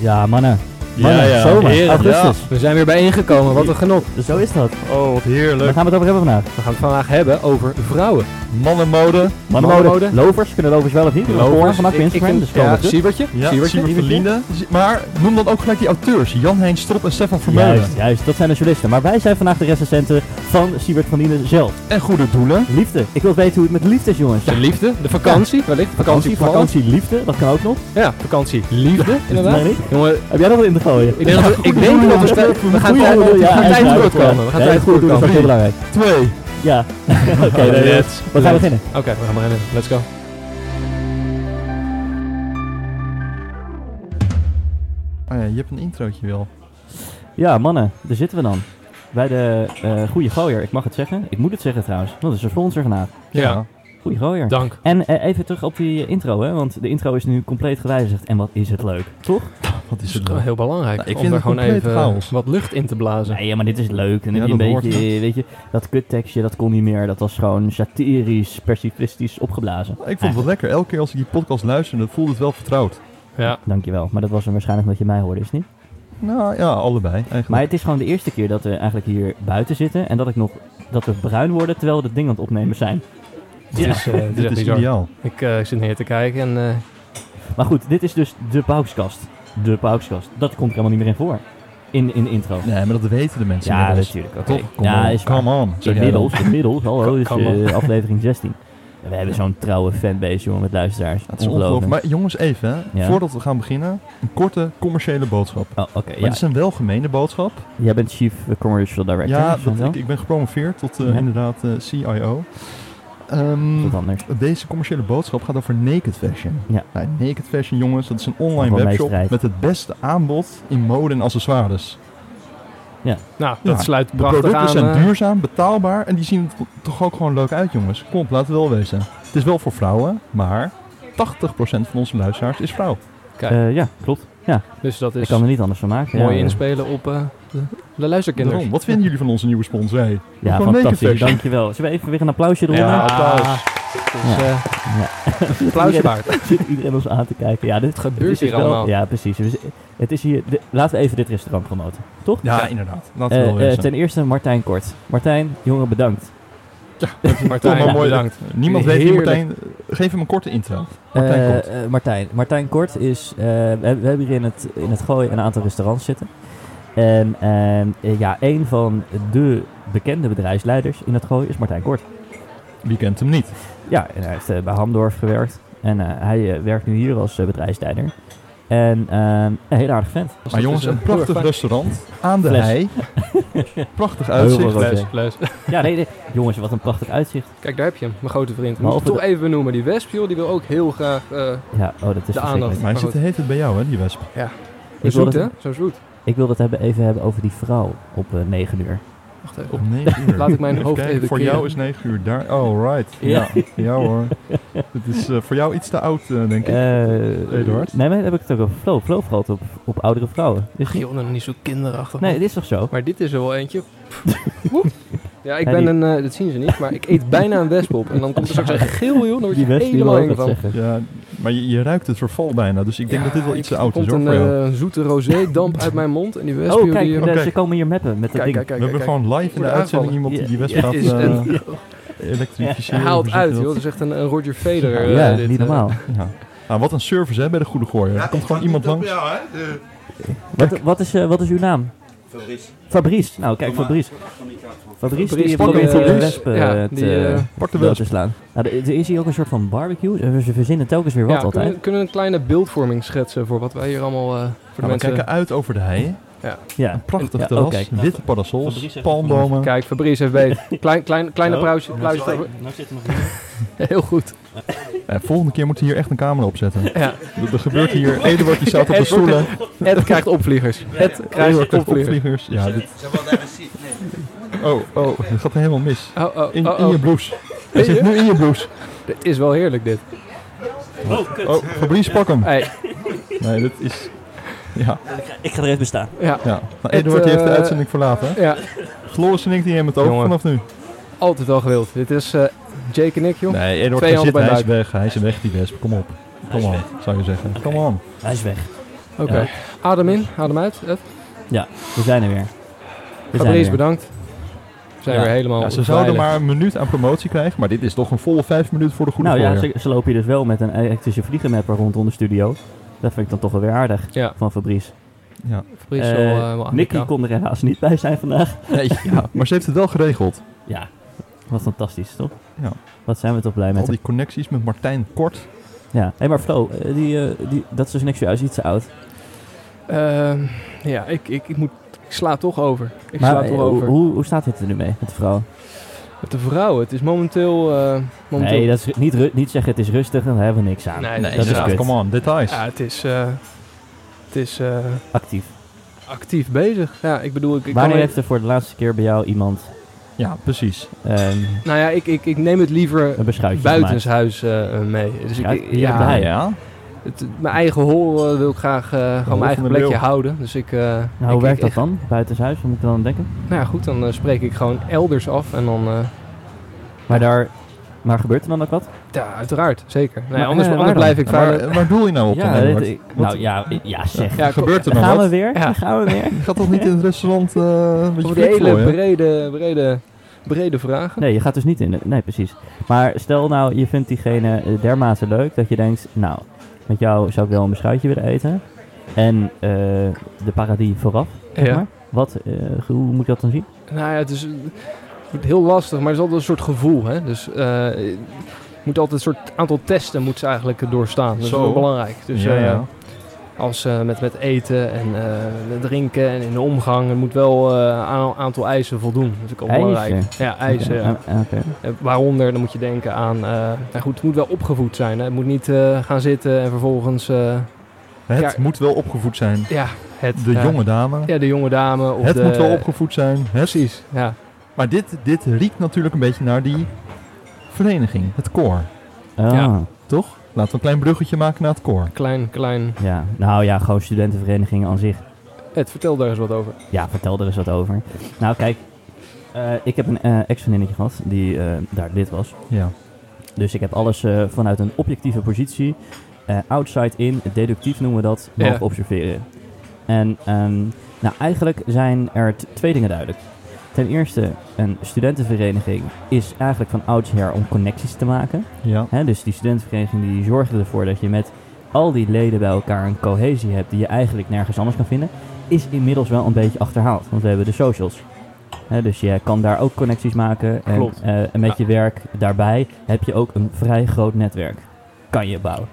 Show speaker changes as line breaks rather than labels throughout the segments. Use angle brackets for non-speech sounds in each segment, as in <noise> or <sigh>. Ja, mannen. Mannen,
Ja, ja.
zomer,
Heren,
augustus. Dus
We zijn weer bijeengekomen, wat een genot.
Zo is dat.
ja. Oh, wat
Waar
heerlijk.
gaan we het over hebben vandaag?
We gaan het vandaag hebben over vrouwen.
Mannenmode.
Mannenmode. Lovers, kunnen lovers wel of niet?
Lovers.
Lovers. Vandaag op
Ik- ik
Instagram,
vind-
dus
ja,
komen
Siebertje.
Ja,
Siebertje.
Siebert
Siebertje.
Verlinde. Zie- Maar noem dan ook gelijk die auteurs. Jan-Hein Strop en Stefan Vermeulen.
Juist, juist. Dat zijn de journalisten. Maar wij zijn vandaag de recensenten van Siebert van Lienen zelf.
En goede doelen.
Liefde. Ik wil weten hoe het met liefde is, jongens.
De liefde, de vakantie, wellicht.
Vakantie,
Vakantie, vakantie.
vakantie, liefde. Dat kan ook nog.
Ja, vakantie, liefde, inderdaad.
Marie?
Jongen,
Heb jij nog wat in te gooien?
ik denk dat we- ik denk dat we spe- we gaan
Goeie
tijd
oude-
we
ja,
gaan
en
tijd
fruit, ja.
voorkomen. We gaan
Nee,
tijd
goed doen, Dat is
voorkomen.
ook heel belangrijk.
Twee. Oh,
Ja. <laughs> Oké, nee, nee.
Let's
we gaan
let's-
beginnen.
Oké, we gaan beginnen. Let's go.
Oh ja, je hebt een introotje wel.
Ja, mannen, daar zitten we dan. Bij de eh Goeie Gooier, ik mag het zeggen. Ik moet het zeggen trouwens, want het is een sponsor vandaag.
Ja,
Goeie Gooier.
dank.
en eh, even terug op die intro, hè, want de intro is nu compleet gewijzigd. En wat is het leuk, toch?
Wat is
Dat
het
is wel
leuk.
heel belangrijk
Nou, ik
om
vind
er
het
gewoon
compleet
even eh,
chaos.
wat lucht in te blazen.
Nee, ja, maar dit is leuk. En dan
Ja,
heb je een
dat
beetje,
hoort,
weet je, dat kuttekstje, dat kon niet meer. Dat was gewoon satirisch, persiflistisch opgeblazen.
Ik vond het wel lekker. Elke keer als ik die podcast luisterde, voelde het wel vertrouwd.
Ja.
Dankjewel, maar dat was hem waarschijnlijk omdat je mij hoorde, is het niet?
Nou ja, allebei eigenlijk.
Maar het is gewoon de eerste keer dat we eigenlijk hier buiten zitten. En dat ik nog, dat we bruin worden terwijl we het ding aan het opnemen zijn.
Dit is, eh, dit is
Dit
echt
is
bizar.
ideaal.
Ik eh, zit neer te kijken en eh,
Maar goed, dit is dus de paukskast. De paukskast. Dat komt er helemaal niet meer in voor. In, in de intro.
Nee, maar dat weten de mensen
ja,
inmiddels.
natuurlijk. Oké.
Toch? Kom
Ja,
on.
is waar.
Come on. zeg jij dan.
Inmiddels, inmiddels. Hallo, dit is
Kan- kan
eh, aflevering 16. En We hebben zo'n trouwe fanbase, jongen, met luisteraars.
Het is ongelooflijk. Maar jongens, even, hè.
Ja.
voordat we gaan beginnen, een korte commerciële boodschap.
Oh, oké.
Maar
ja.
het is een welgemene boodschap.
Jij bent Chief eh, Commercial Director.
ja,
is dat
dat,
wel?
ik, ik ben gepromoveerd tot eh,
Ja.
inderdaad eh, CIO. Ehm,
Wat anders.
deze commerciële boodschap gaat over Naked Fashion.
Ja.
Nou, naked Fashion, jongens, dat is een online
Van mij
webshop
strijd.
met het beste aanbod in mode en accessoires.
nou, dat
Ja,
sluit
De
prachtig
producten
aan.
zijn
eh,
duurzaam, betaalbaar en die zien er toch ook gewoon leuk uit, jongens. Kom op, laten we wel wezen. Het is wel voor vrouwen, maar 80% van onze luisteraars is vrouw.
Ja.
Eh, ja, klopt.
dus dat
Ik
is
kan er niet anders van maken.
mooi
ja,
inspelen op eh, de, de luisterkinders.
Daarom, wat vinden jullie van onze nieuwe sponsor? Hey,
Ja,
Gewoon Naked
fantastisch.
Fashion.
Dankjewel. Zullen we even weer een applausje eronder?
Ja. applaus.
Dus, eh, applausje
Iedereen-
waard.
<laughs> zit iedereen ons aan te kijken. Ja, dit
gebeurt
dit is
hier
wel-
allemaal.
Ja, precies. Dus, eh, het is hier, de- laten we even dit restaurant promoten, toch?
Ja, inderdaad. Laten we
Eh,
wel
eh,
wezen.
ten eerste Martijn Kort. Martijn, jongen, bedankt.
<laughs> Martijn,
Toch maar mooi
bedankt.
Niemand weet wie
Heerlijk.
Martijn... Geef hem een korte intro. Martijn
Eh,
Kort.
eh, Martijn. Martijn Kort is... eh, we, we hebben hier in het, in het Gooi een aantal restaurants zitten. En ehm, eh, ja, een van de bekende bedrijfsleiders in het Gooi is Martijn Kort.
Wie kent hem niet?
Ja, en hij heeft eh, bij Hamdorf gewerkt. En eh, hij eh, werkt nu hier als eh, bedrijfsleider. En ehm, een hele aardige vent.
Dus
Maar
dat
jongens,
is, eh,
een prachtig
heel erg
restaurant aan de
Fles.
hei.
<laughs>
Prachtig
Heel
uitzicht.
veel
fijn.
restaurant.
Fles, fles.
Ja, nee, <laughs> nee. jongens, wat een prachtig uitzicht.
Kijk, daar heb je hem, mijn grote vriend.
Maar
Moet ik
over
toch
de-
even benoemen, die wesp, joh, die wil ook heel graag... eh
Ja, oh, dat is verschrikkelijk.
aandacht.
Maar hij zit de hele tijd bij jou, hè, die wesp.
Ik wil,
zoet,
het,
hè? Zo zoet.
ik wil het hebben, even hebben over die vrouw op eh 9 uur.
Wacht even.
Om
<laughs>
9 uur.
Laat ik mijn
Even
hoofd
kijken,
even
Voor
keren.
jou is 9 uur daar. Oh, right.
Ja.
Ja, ja hoor. Het is eh, voor jou iets te oud, eh, denk ik.
Eh,
Eduard?
Nee, maar daar heb ik het ook over Flow. Flow gehad op, op oudere vrouwen. Dus
Ach joh, nou niet zo kinderachtig.
nee,
man.
dit is toch zo?
Maar dit is er wel eentje. Oeh. ja, ik
Ja,
ben
die-
een... eh, dat zien ze niet, maar ik eet bijna een wesp op. En dan komt er straks een geel, joh. Dan word je
Die West die
helemaal
wil ook
eng
wat
van.
zeggen.
Ja, maar je, je ruikt het verval bijna, dus ik denk
Ja,
dat dit wel iets te
ik-
oud is
komt
hoor,
een
voor jou. We
eh, zoete rosé-damp uit mijn mond. En die wesp,
Oh,
joh,
kijk,
die... eh,
de-
Oké.
ze komen hier mappen met dat
Kijk,
ding.
kijk, kijk.
hebben
kijk.
gewoon live in
Moet
de
er
uitzending
aanvallen.
iemand die die wesp
Ja,
gaat
Het is
eh,
een... <laughs>
elektrificeren.
Haalt
hoe zeg je
uit,
dat?
joh. Dat is echt een, een Roger Federer.
<laughs> Ja,
eh, dit,
niet
eh.
normaal.
Ja. Nou, wat een service hè, bij de Goede Gooier. Er komt gewoon iemand langs.
Wat, wat, is, eh, wat is uw naam? Fabrice. Nou, kijk, Fabrice. Fabrice, die
Fabrice,
probeert die
pak hem,
eh,
eh,
wespen
ja,
eh,
die, eh,
te
Pak de
dood
wesp.
te slaan. Nou, er er is hier ook een soort van barbecue. Eh, Ze verzinnen telkens weer wat
ja,
altijd.
kunnen, kunnen we een kleine beeldvorming schetsen voor wat wij hier allemaal eh, voor de
Nou, we
mensen...
kijken uit over de hei.
Ja.
Prachtig
Ja,
terras,
oh,
Nou,
kijk.
witte
Fabrice
parasols,
heeft het eh,
palmbomen.
Kijk, Fabrice heeft
<laughs>
beet. Klein, klein, klein
Oh,
applausje. applausje voor- <laughs> Heel goed.
Eh, volgende keer moeten we hier echt een camera <laughs> opzetten.
Ja.
Er, er gebeurt hier, Eduard die staat op de
Edward
stoelen.
Ed krijgt opvliegers. Ed
Eduard
krijgt
krijgt
opvliegers.
opvliegers. Ja, dit... Oh, oh, dat gaat helemaal mis.
Oh, oh,
In,
oh,
in
oh.
je blouse. Hij zit nu in je <laughs> blouse.
Dit is wel heerlijk dit.
Oh, Fabrice, pak hem.
Hey,
Nee, dit is... Ja,
Ik ga er even bestaan.
ja,
ja. Nou, Eduard die heeft de
eh,
uitzending verlaten.
ja,
Floris en ik die hebben het over
Jongen.
vanaf nu.
altijd al gewild. Dit is eh, Jake en ik, joh.
Nee, Eduard
Twee
hij
handen
zit,
bij
hij
de
is weg. Hij is weg, die wesp. Kom op. Kom on, zou je zeggen. Kom on.
Hij is weg.
Oké. Adem in, adem uit. Ed.
We zijn er weer. We zijn
Fabrice,
er weer.
bedankt. We zijn
Ja.
weer helemaal
Ja, ze
veilig.
zouden maar een minuut aan promotie krijgen, maar dit is toch een volle vijf minuten voor de goede
Nou ja,
voorjaar.
ze, ze lopen hier dus wel met een elektrische vliegenmapper rondom de studio. Dat vind ik dan toch wel weer aardig
Ja.
van Fabrice.
ja.
Fabrice
Eh,
wel, eh, wel aan
Nicky
elkaar.
kon er helaas niet bij zijn vandaag.
ja, <laughs> maar ze heeft het wel geregeld.
Ja, wat fantastisch, toch?
Ja.
Wat zijn we toch blij met
Al
hem.
die connecties met Martijn Kort.
Ja. Hé, maar Flo, eh, die, eh, die, dat is dus niks juist iets te oud.
Ehm, ja, ik, ik, ik, moet, ik sla toch over. Ik
maar
sla
eh,
toch
hoe,
over.
hoe, hoe staat het er nu mee met de vrouw?
Met de vrouwen, het is momenteel... eh, momenteel
Nee, dat is ru- niet, ru- niet zeggen het is rustig en daar hebben we niks aan.
Nee, nee,
dat is
ja,
kut.
come on, details.
ja, het is, eh, het is eh,
Actief.
actief bezig. Ja, ik bedoel... Ik, ik
Wanneer
kan-
heeft er voor de laatste keer bij jou iemand
Ja, precies.
ehm,
Nou ja, ik, ik, ik neem het liever
een beschuitje gemaakt?
buitenshuis eh, mee. Dus ik,
Kijk,
ik-
hier heb
ja,
jij.
ja.
het- mijn eigen hol eh, wil ik graag... eh,
hol
gewoon mijn
van
eigen
de
plekje
leeuw.
houden. Dus ik... eh,
Nou,
ik-
hoe
ik-
werkt dat
ik-
dan? Buitenshuis, wat moet ik dan aan denken?
Nou ja, goed, dan eh, spreek ik gewoon elders af en dan... eh,
Maar, daar, maar gebeurt er dan ook wat?
ja, uiteraard, zeker. Nou ja,
Maar,
anders
eh,
anders
waar
blijf ik vader.
Waar, waar doel je
Oh,
nou op?
ja,
dan,
dit-
Eduard?
ik-
Wat-
nou ja, i- ja zeg.
Ja,
Gebeurt er
Dan
nog
gaan
wat?
we weer,
Ja.
dan gaan we <laughs> weer.
Je gaat toch niet in het restaurant eh een beetje
Over de
flink
hele
gooien?
brede, brede, brede vragen.
Nee, je gaat dus niet in. de- Nee, precies. Maar stel nou, je vindt diegene eh, dermate leuk dat je denkt, nou, met jou zou ik wel een beschuitje willen eten. En eh, de paradie vooraf, zeg
Ja.
maar. Wat, eh, hoe moet ik dat dan zien?
Nou ja, het is eh, het wordt heel lastig, maar het is altijd een soort gevoel. Hè? Dus eh, je moet altijd een soort aantal testen moet ze eigenlijk eh, doorstaan. Dat is
Zo.
wel belangrijk. Dus
ja,
eh,
ja.
als eh, met, met eten en eh, met drinken en in de omgang, het moet wel eh, aan een aantal eisen voldoen. Dat is natuurlijk ook belangrijk.
Eisen?
Ja, eisen. ja.
Oké, eh, oké.
Eh, Waaronder, dan moet je denken aan, eh, nou goed, het moet wel opgevoed zijn. Hè? Het moet niet eh, gaan zitten en vervolgens, eh,
Het
Ja.
moet wel opgevoed zijn.
ja, het...
De
ja.
jonge dame.
Ja, de jonge dame. Of
het
de,
moet wel opgevoed zijn. Het.
Precies, ja.
Maar dit, dit riekt natuurlijk een beetje naar die vereniging, het koor.
Ah,
Ja.
Toch? Laten we een klein bruggetje maken naar het koor.
Klein, klein.
ja. Nou ja, gewoon studentenverenigingen aan zich.
Ed, vertel daar eens wat over.
Ja, vertel er eens wat over. Nou, kijk. eh, ik heb een eh ex-vriendinnetje gehad die eh, daar lid was.
Ja.
Dus ik heb alles eh, vanuit een objectieve positie, eh, outside in, deductief noemen we dat, mogen
Ja.
observeren. En ehm, nou, eigenlijk zijn er t- twee dingen duidelijk. Ten eerste, een studentenvereniging is eigenlijk van oudsher om connecties te maken.
Ja.
Hè? Dus die studentenvereniging die zorgde ervoor dat je met al die leden bij elkaar een cohesie hebt die je eigenlijk nergens anders kan vinden, is inmiddels wel een beetje achterhaald. Want we hebben de socials. Hè, dus je kan daar ook connecties maken. En,
Klopt.
eh, en met je werk daarbij heb je ook een vrij groot netwerk. Kan je bouwen.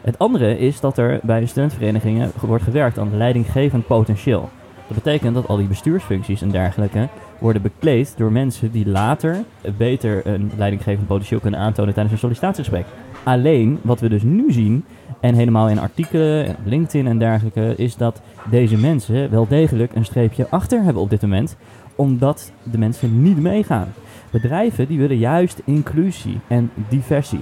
Het andere is dat er bij studentenverenigingen ge- wordt gewerkt aan leidinggevend potentieel. Dat betekent dat al die bestuursfuncties en dergelijke worden bekleed door mensen die later beter een leidinggevend potentieel kunnen aantonen tijdens een sollicitatiegesprek. Alleen wat we dus nu zien, en helemaal in artikelen, en op LinkedIn en dergelijke, is dat deze mensen wel degelijk een streepje achter hebben op dit moment, omdat de mensen niet meegaan. Bedrijven die willen juist inclusie en diversie.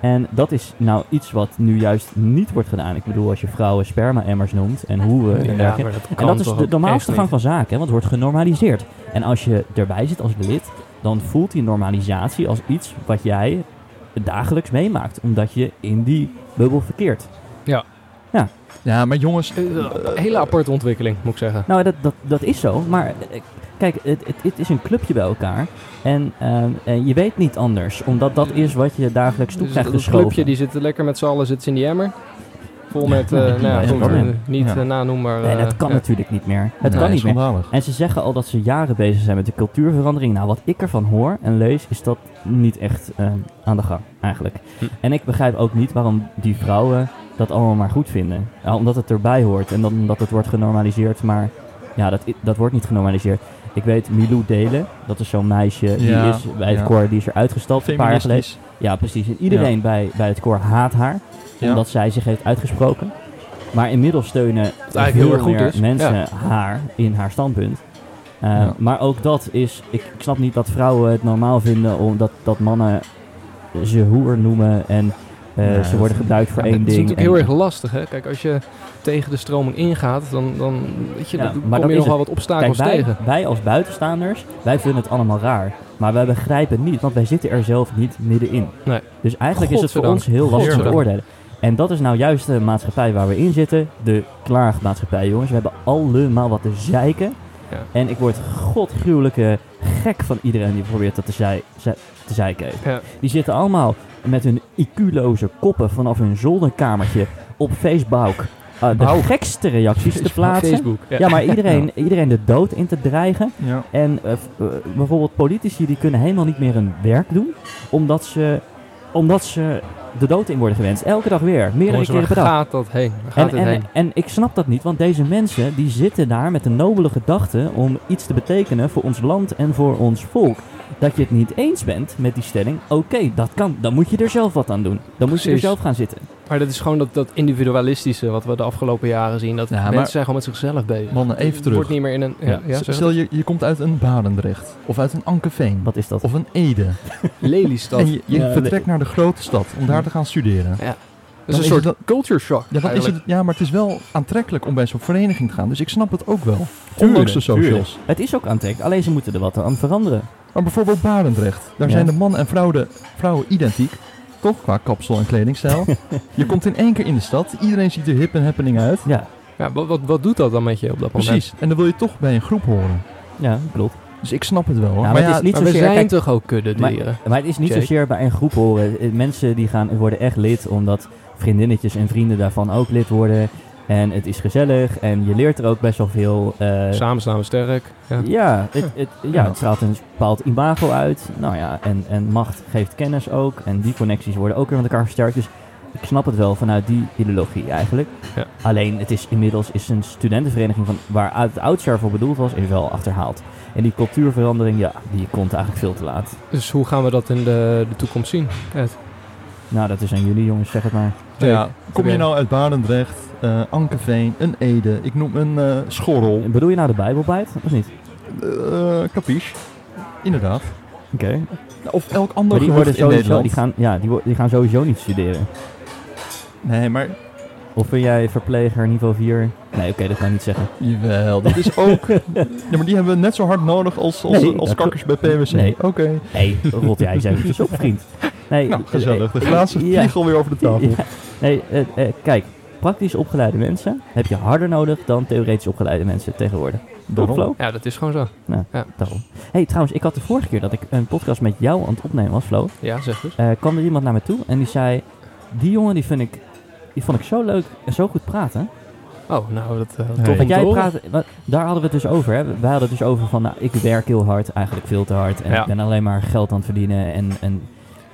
En dat is nou iets wat nu juist niet wordt gedaan. Ik bedoel, als je vrouwen sperma-emmers noemt en hoe we en dergelijke.
dat
En dat is
toch
de
ook echt
normaalste gang
niet?
van zaken, hè, want het wordt genormaliseerd. En als je erbij zit als lid, dan voelt die normalisatie als iets wat jij dagelijks meemaakt. Omdat je in die bubbel verkeert.
Ja, maar jongens,
Eh, eh, hele aparte ontwikkeling, moet ik zeggen.
Nou, dat, dat, dat is zo, maar eh, kijk, het, het, het is een clubje bij elkaar. En, ehm, en je weet niet anders, omdat dat is wat je dagelijks toe
Dus
krijgt
dat
geschoven.
clubje die zitten lekker met z'n allen zitten ze in die emmer. Vol met, eh
Ja,
nou ja,
ja,
goed,
dat
eh,
kan.
niet
Ja.
eh, nanoembaar.
Nee, dat
eh,
kan
ja.
natuurlijk niet meer. Het
nee,
kan niet meer.
schandalig.
En ze zeggen al dat ze jaren bezig zijn met de cultuurverandering. Nou, wat ik ervan hoor en lees, is dat niet echt eh, aan de gang, eigenlijk.
Hm.
En ik begrijp ook niet waarom die vrouwen dat allemaal maar goed vinden. Ja, omdat het erbij hoort en dan, omdat het wordt genormaliseerd, maar ja, dat, i- dat wordt niet genormaliseerd. Ik weet Milou Delen, dat is zo'n meisje, die
Ja,
is bij het
ja.
koor, die is eruit gestapt een paar jaar geleden.
Feministisch.
Ja, precies. En iedereen bij, bij het koor haat haar,
Ja.
omdat zij zich heeft uitgesproken. Maar inmiddels steunen
eigenlijk
veel
heel erg goed
meer
is.
mensen haar in haar standpunt. Uh,
Ja.
Maar ook dat is... Ik, ik snap niet dat vrouwen het normaal vinden omdat dat mannen ze hoer noemen en eh,
Nee,
ze
dat-
worden gebruikt voor
Ja,
één
het is
ding.
natuurlijk heel
en-
erg lastig, hè. Kijk, als je tegen de stroming ingaat, dan, dan weet je,
Ja,
dan
maar
kom
dat is
je nogal wat
Kijk,
obstakels
wij,
tegen.
wij als buitenstaanders, wij vinden het allemaal raar. Maar wij begrijpen het niet, want wij zitten er zelf niet middenin.
Nee.
Dus eigenlijk is het voor
Godverdank.
ons heel lastig te
Godverdank.
beoordelen. En dat is nou juist de maatschappij waar we in zitten. De klaagmaatschappij, jongens. We hebben allemaal wat te zeiken.
Ja.
En ik word godgruwelijke gek van iedereen die probeert dat te, zei, ze- te zeiken. heeft.
Ja.
Die zitten allemaal met hun IQ-loze koppen vanaf hun zolderkamertje op Facebook eh, de
Bouw.
gekste reacties te plaatsen.
Facebook. Ja.
Ja, maar iedereen, iedereen de dood in te dreigen.
Ja.
En eh, f- eh, bijvoorbeeld politici die kunnen helemaal niet meer hun werk doen. Omdat ze, omdat ze de dood in worden gewenst. Elke dag weer. Meerdere
Jongens,
keren per
waar
dag.
gaat dat heen? Waar gaat
En,
het heen?
en, en ik snap dat niet, want deze mensen die zitten daar met de nobele gedachte om iets te betekenen voor ons land en voor ons volk. Dat je het niet eens bent met die stelling, oké, dat kan. Dan moet je er zelf wat aan doen. Dan moet je er
Precies.
zelf gaan zitten.
Maar dat is gewoon dat, dat individualistische wat we de afgelopen jaren zien. Dat
Ja,
mensen
maar-
zijn gewoon met zichzelf bezig.
Mannen, even
Het Wordt
terug.
niet meer in een... Ja, ja,
S- Stel, je, je komt uit een Barendrecht. Of uit een Ankeveen.
Wat is dat?
Of een Ede.
<laughs> Lelystad.
En je, je
Ja,
vertrekt naar de grote stad om daar te gaan studeren.
Hm. dat is
dan
een
is
soort
dat-
culture shock
Ja, dan is
eigenlijk.
het, ja, maar het is wel aantrekkelijk om bij zo'n vereniging te gaan. Dus ik snap het ook wel. Ondanks
Tuurlijk,
de
tuurlijk.
socials.
Het is ook aantrekkelijk, alleen ze moeten er wat aan veranderen.
Maar bijvoorbeeld Barendrecht. Daar
Ja.
zijn de man en vrouw de, vrouwen identiek. Toch? Qua kapsel en
<laughs>
kledingstijl. je komt in één keer in de stad. Iedereen ziet er hip en happening uit.
Ja,
Ja, wat, wat, wat doet dat dan met je op dat moment?
Precies. En dan wil je toch bij een groep horen.
ja klopt. Nou,
Dus ik snap het wel. hoor.
Nou,
maar het is niet
Maar
zo
we
zeer-
zijn
kijk-
toch ook kudde dieren?
Maar het is niet
Jake.
zozeer bij een groep horen. Eh, Mensen die gaan, worden echt lid omdat vriendinnetjes en vrienden daarvan ook lid worden. En het is gezellig en je leert er ook best wel veel. eh,
Samen staan we sterk. Ja.
ja, het, het, ja,
Eh, Ja.
het straalt een bepaald imago uit. Nou ja, en, en macht geeft kennis ook. En die connecties worden ook weer met elkaar versterkt. Dus ik snap het wel vanuit die ideologie eigenlijk.
Ja.
Alleen het is inmiddels is een studentenvereniging van, waar uit het oudsher voor bedoeld was, is wel achterhaald. En die cultuurverandering, ja, die komt eigenlijk veel te laat.
Dus hoe gaan we dat in de, de toekomst zien? Ed?
Nou, dat is aan jullie jongens, zeg het maar.
Nou ja, kom je
Oké.
nou uit Barendrecht, eh Ankeveen, een Ede, ik noem een eh schorrel,
Bedoel je nou de Bijbelbijt of niet?
eh capiche, inderdaad. Nou,
Oké. Maar
Of elk ander
die
gehucht
worden
in
sowieso,
Nederland.
die gaan, ja, die, wo- die gaan sowieso niet studeren.
Nee, maar
Of vind jij verpleger niveau 4? Nee, oké, dat kan ik niet zeggen.
jawel, dat
<laughs>
is ook... ja, maar die hebben we net zo hard nodig als, als,
Nee,
als
dat
kakkers bij PwC.
Nee.
Oké,
Nee, rot jij eens eventjes op, vriend. Nee,
nou
eh,
gezellig, de
eh,
glazen
ja.
vliegel weer over de tafel.
Ja. Nee, eh, eh, kijk, praktisch opgeleide mensen heb je harder nodig dan theoretisch opgeleide mensen tegenwoordig.
Daarom.
Flo?
Ja, dat is gewoon zo.
Daarom. hey, trouwens, ik had de vorige keer dat ik een podcast met jou aan het opnemen was, Flo,
Ja, zeg dus.
eh, kwam er iemand naar me toe en die zei, die jongen die, vind ik, die vond ik zo leuk en zo goed praten.
Oh, nou, dat eh,
Nee.
tof om
Want
te
jij
horen.
praat, wa- daar hadden we het dus over. Hè? Wij hadden het dus over van, nou, ik werk heel hard, eigenlijk veel te hard. En
Ja.
ik ben alleen maar geld aan het verdienen. En, en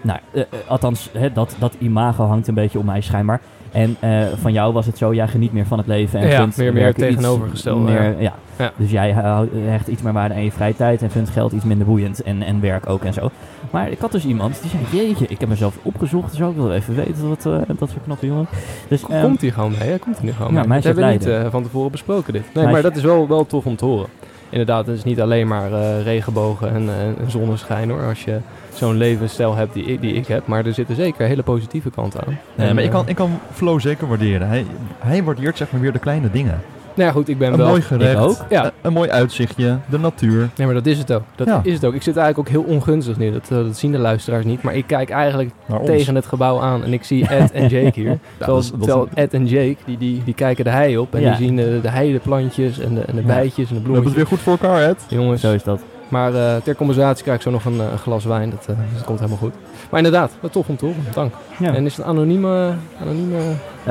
nou, eh, eh, althans, hè, dat, dat imago hangt een beetje om mij schijnbaar. En eh, van jou was het zo, jij geniet meer van het leven. En
Ja,
vindt
meer- meer
werken iets
tegenovergestelde,
Meer, ja.
Ja.
Dus jij houdt- hecht iets meer waarde aan je vrije tijd en vindt geld iets minder boeiend. En, en werk ook en zo. Maar ik had dus iemand die zei, jeetje, ik heb mezelf opgezocht. Zo, ik wil even weten wat, eh, dat soort knappe jongen. Dus,
Kom-
ehm,
komt hij gewoon mee, hè? Komt hij nu gewoon
Ja,
mee?
meisje
hebben we
uit
niet
Leiden.
eh, van tevoren besproken dit. Nee,
Meisje-
maar dat is wel, wel tof om te horen. Inderdaad, het is niet alleen maar eh, regenbogen en, eh, en zonneschijn hoor. Als je zo'n levensstijl hebt die, ik- die ik heb. Maar er zitten zeker hele positieve kanten aan.
Nee,
En,
maar ik
eh,
kan, ik kan Flo zeker waarderen. Hij, hij waardeert zeg maar weer de kleine dingen.
Nou ja, goed, ik ben
Een
wel...
mooi gerecht,
ik ook.
Ja.
eh, een mooi uitzichtje, de natuur.
Nee, maar dat is het ook. Dat
Ja.
is het ook. Ik zit eigenlijk ook heel ongunstig nu. Dat, eh, dat zien de luisteraars niet. Maar ik kijk eigenlijk
Naar ons.
tegen het gebouw aan. En ik
<laughs>
zie Ed en Jake hier. terwijl,
dat is- dat is-
terwijl Ed en Jake, die, die, die kijken de hei op. En
Ja.
die zien de, de heideplantjes en de, en de
Ja.
bijtjes
We hebben
en de
het
bloemetjes.
weer goed voor elkaar,
Eh,
Ed.
Jongens,
Zo is dat.
Maar eh, ter compensatie krijg ik zo nog een eh, glas wijn. Dat, eh, dat komt helemaal goed. Maar inderdaad, wat tof om te horen. Dank.
Ja.
En is het een anonieme... anonieme...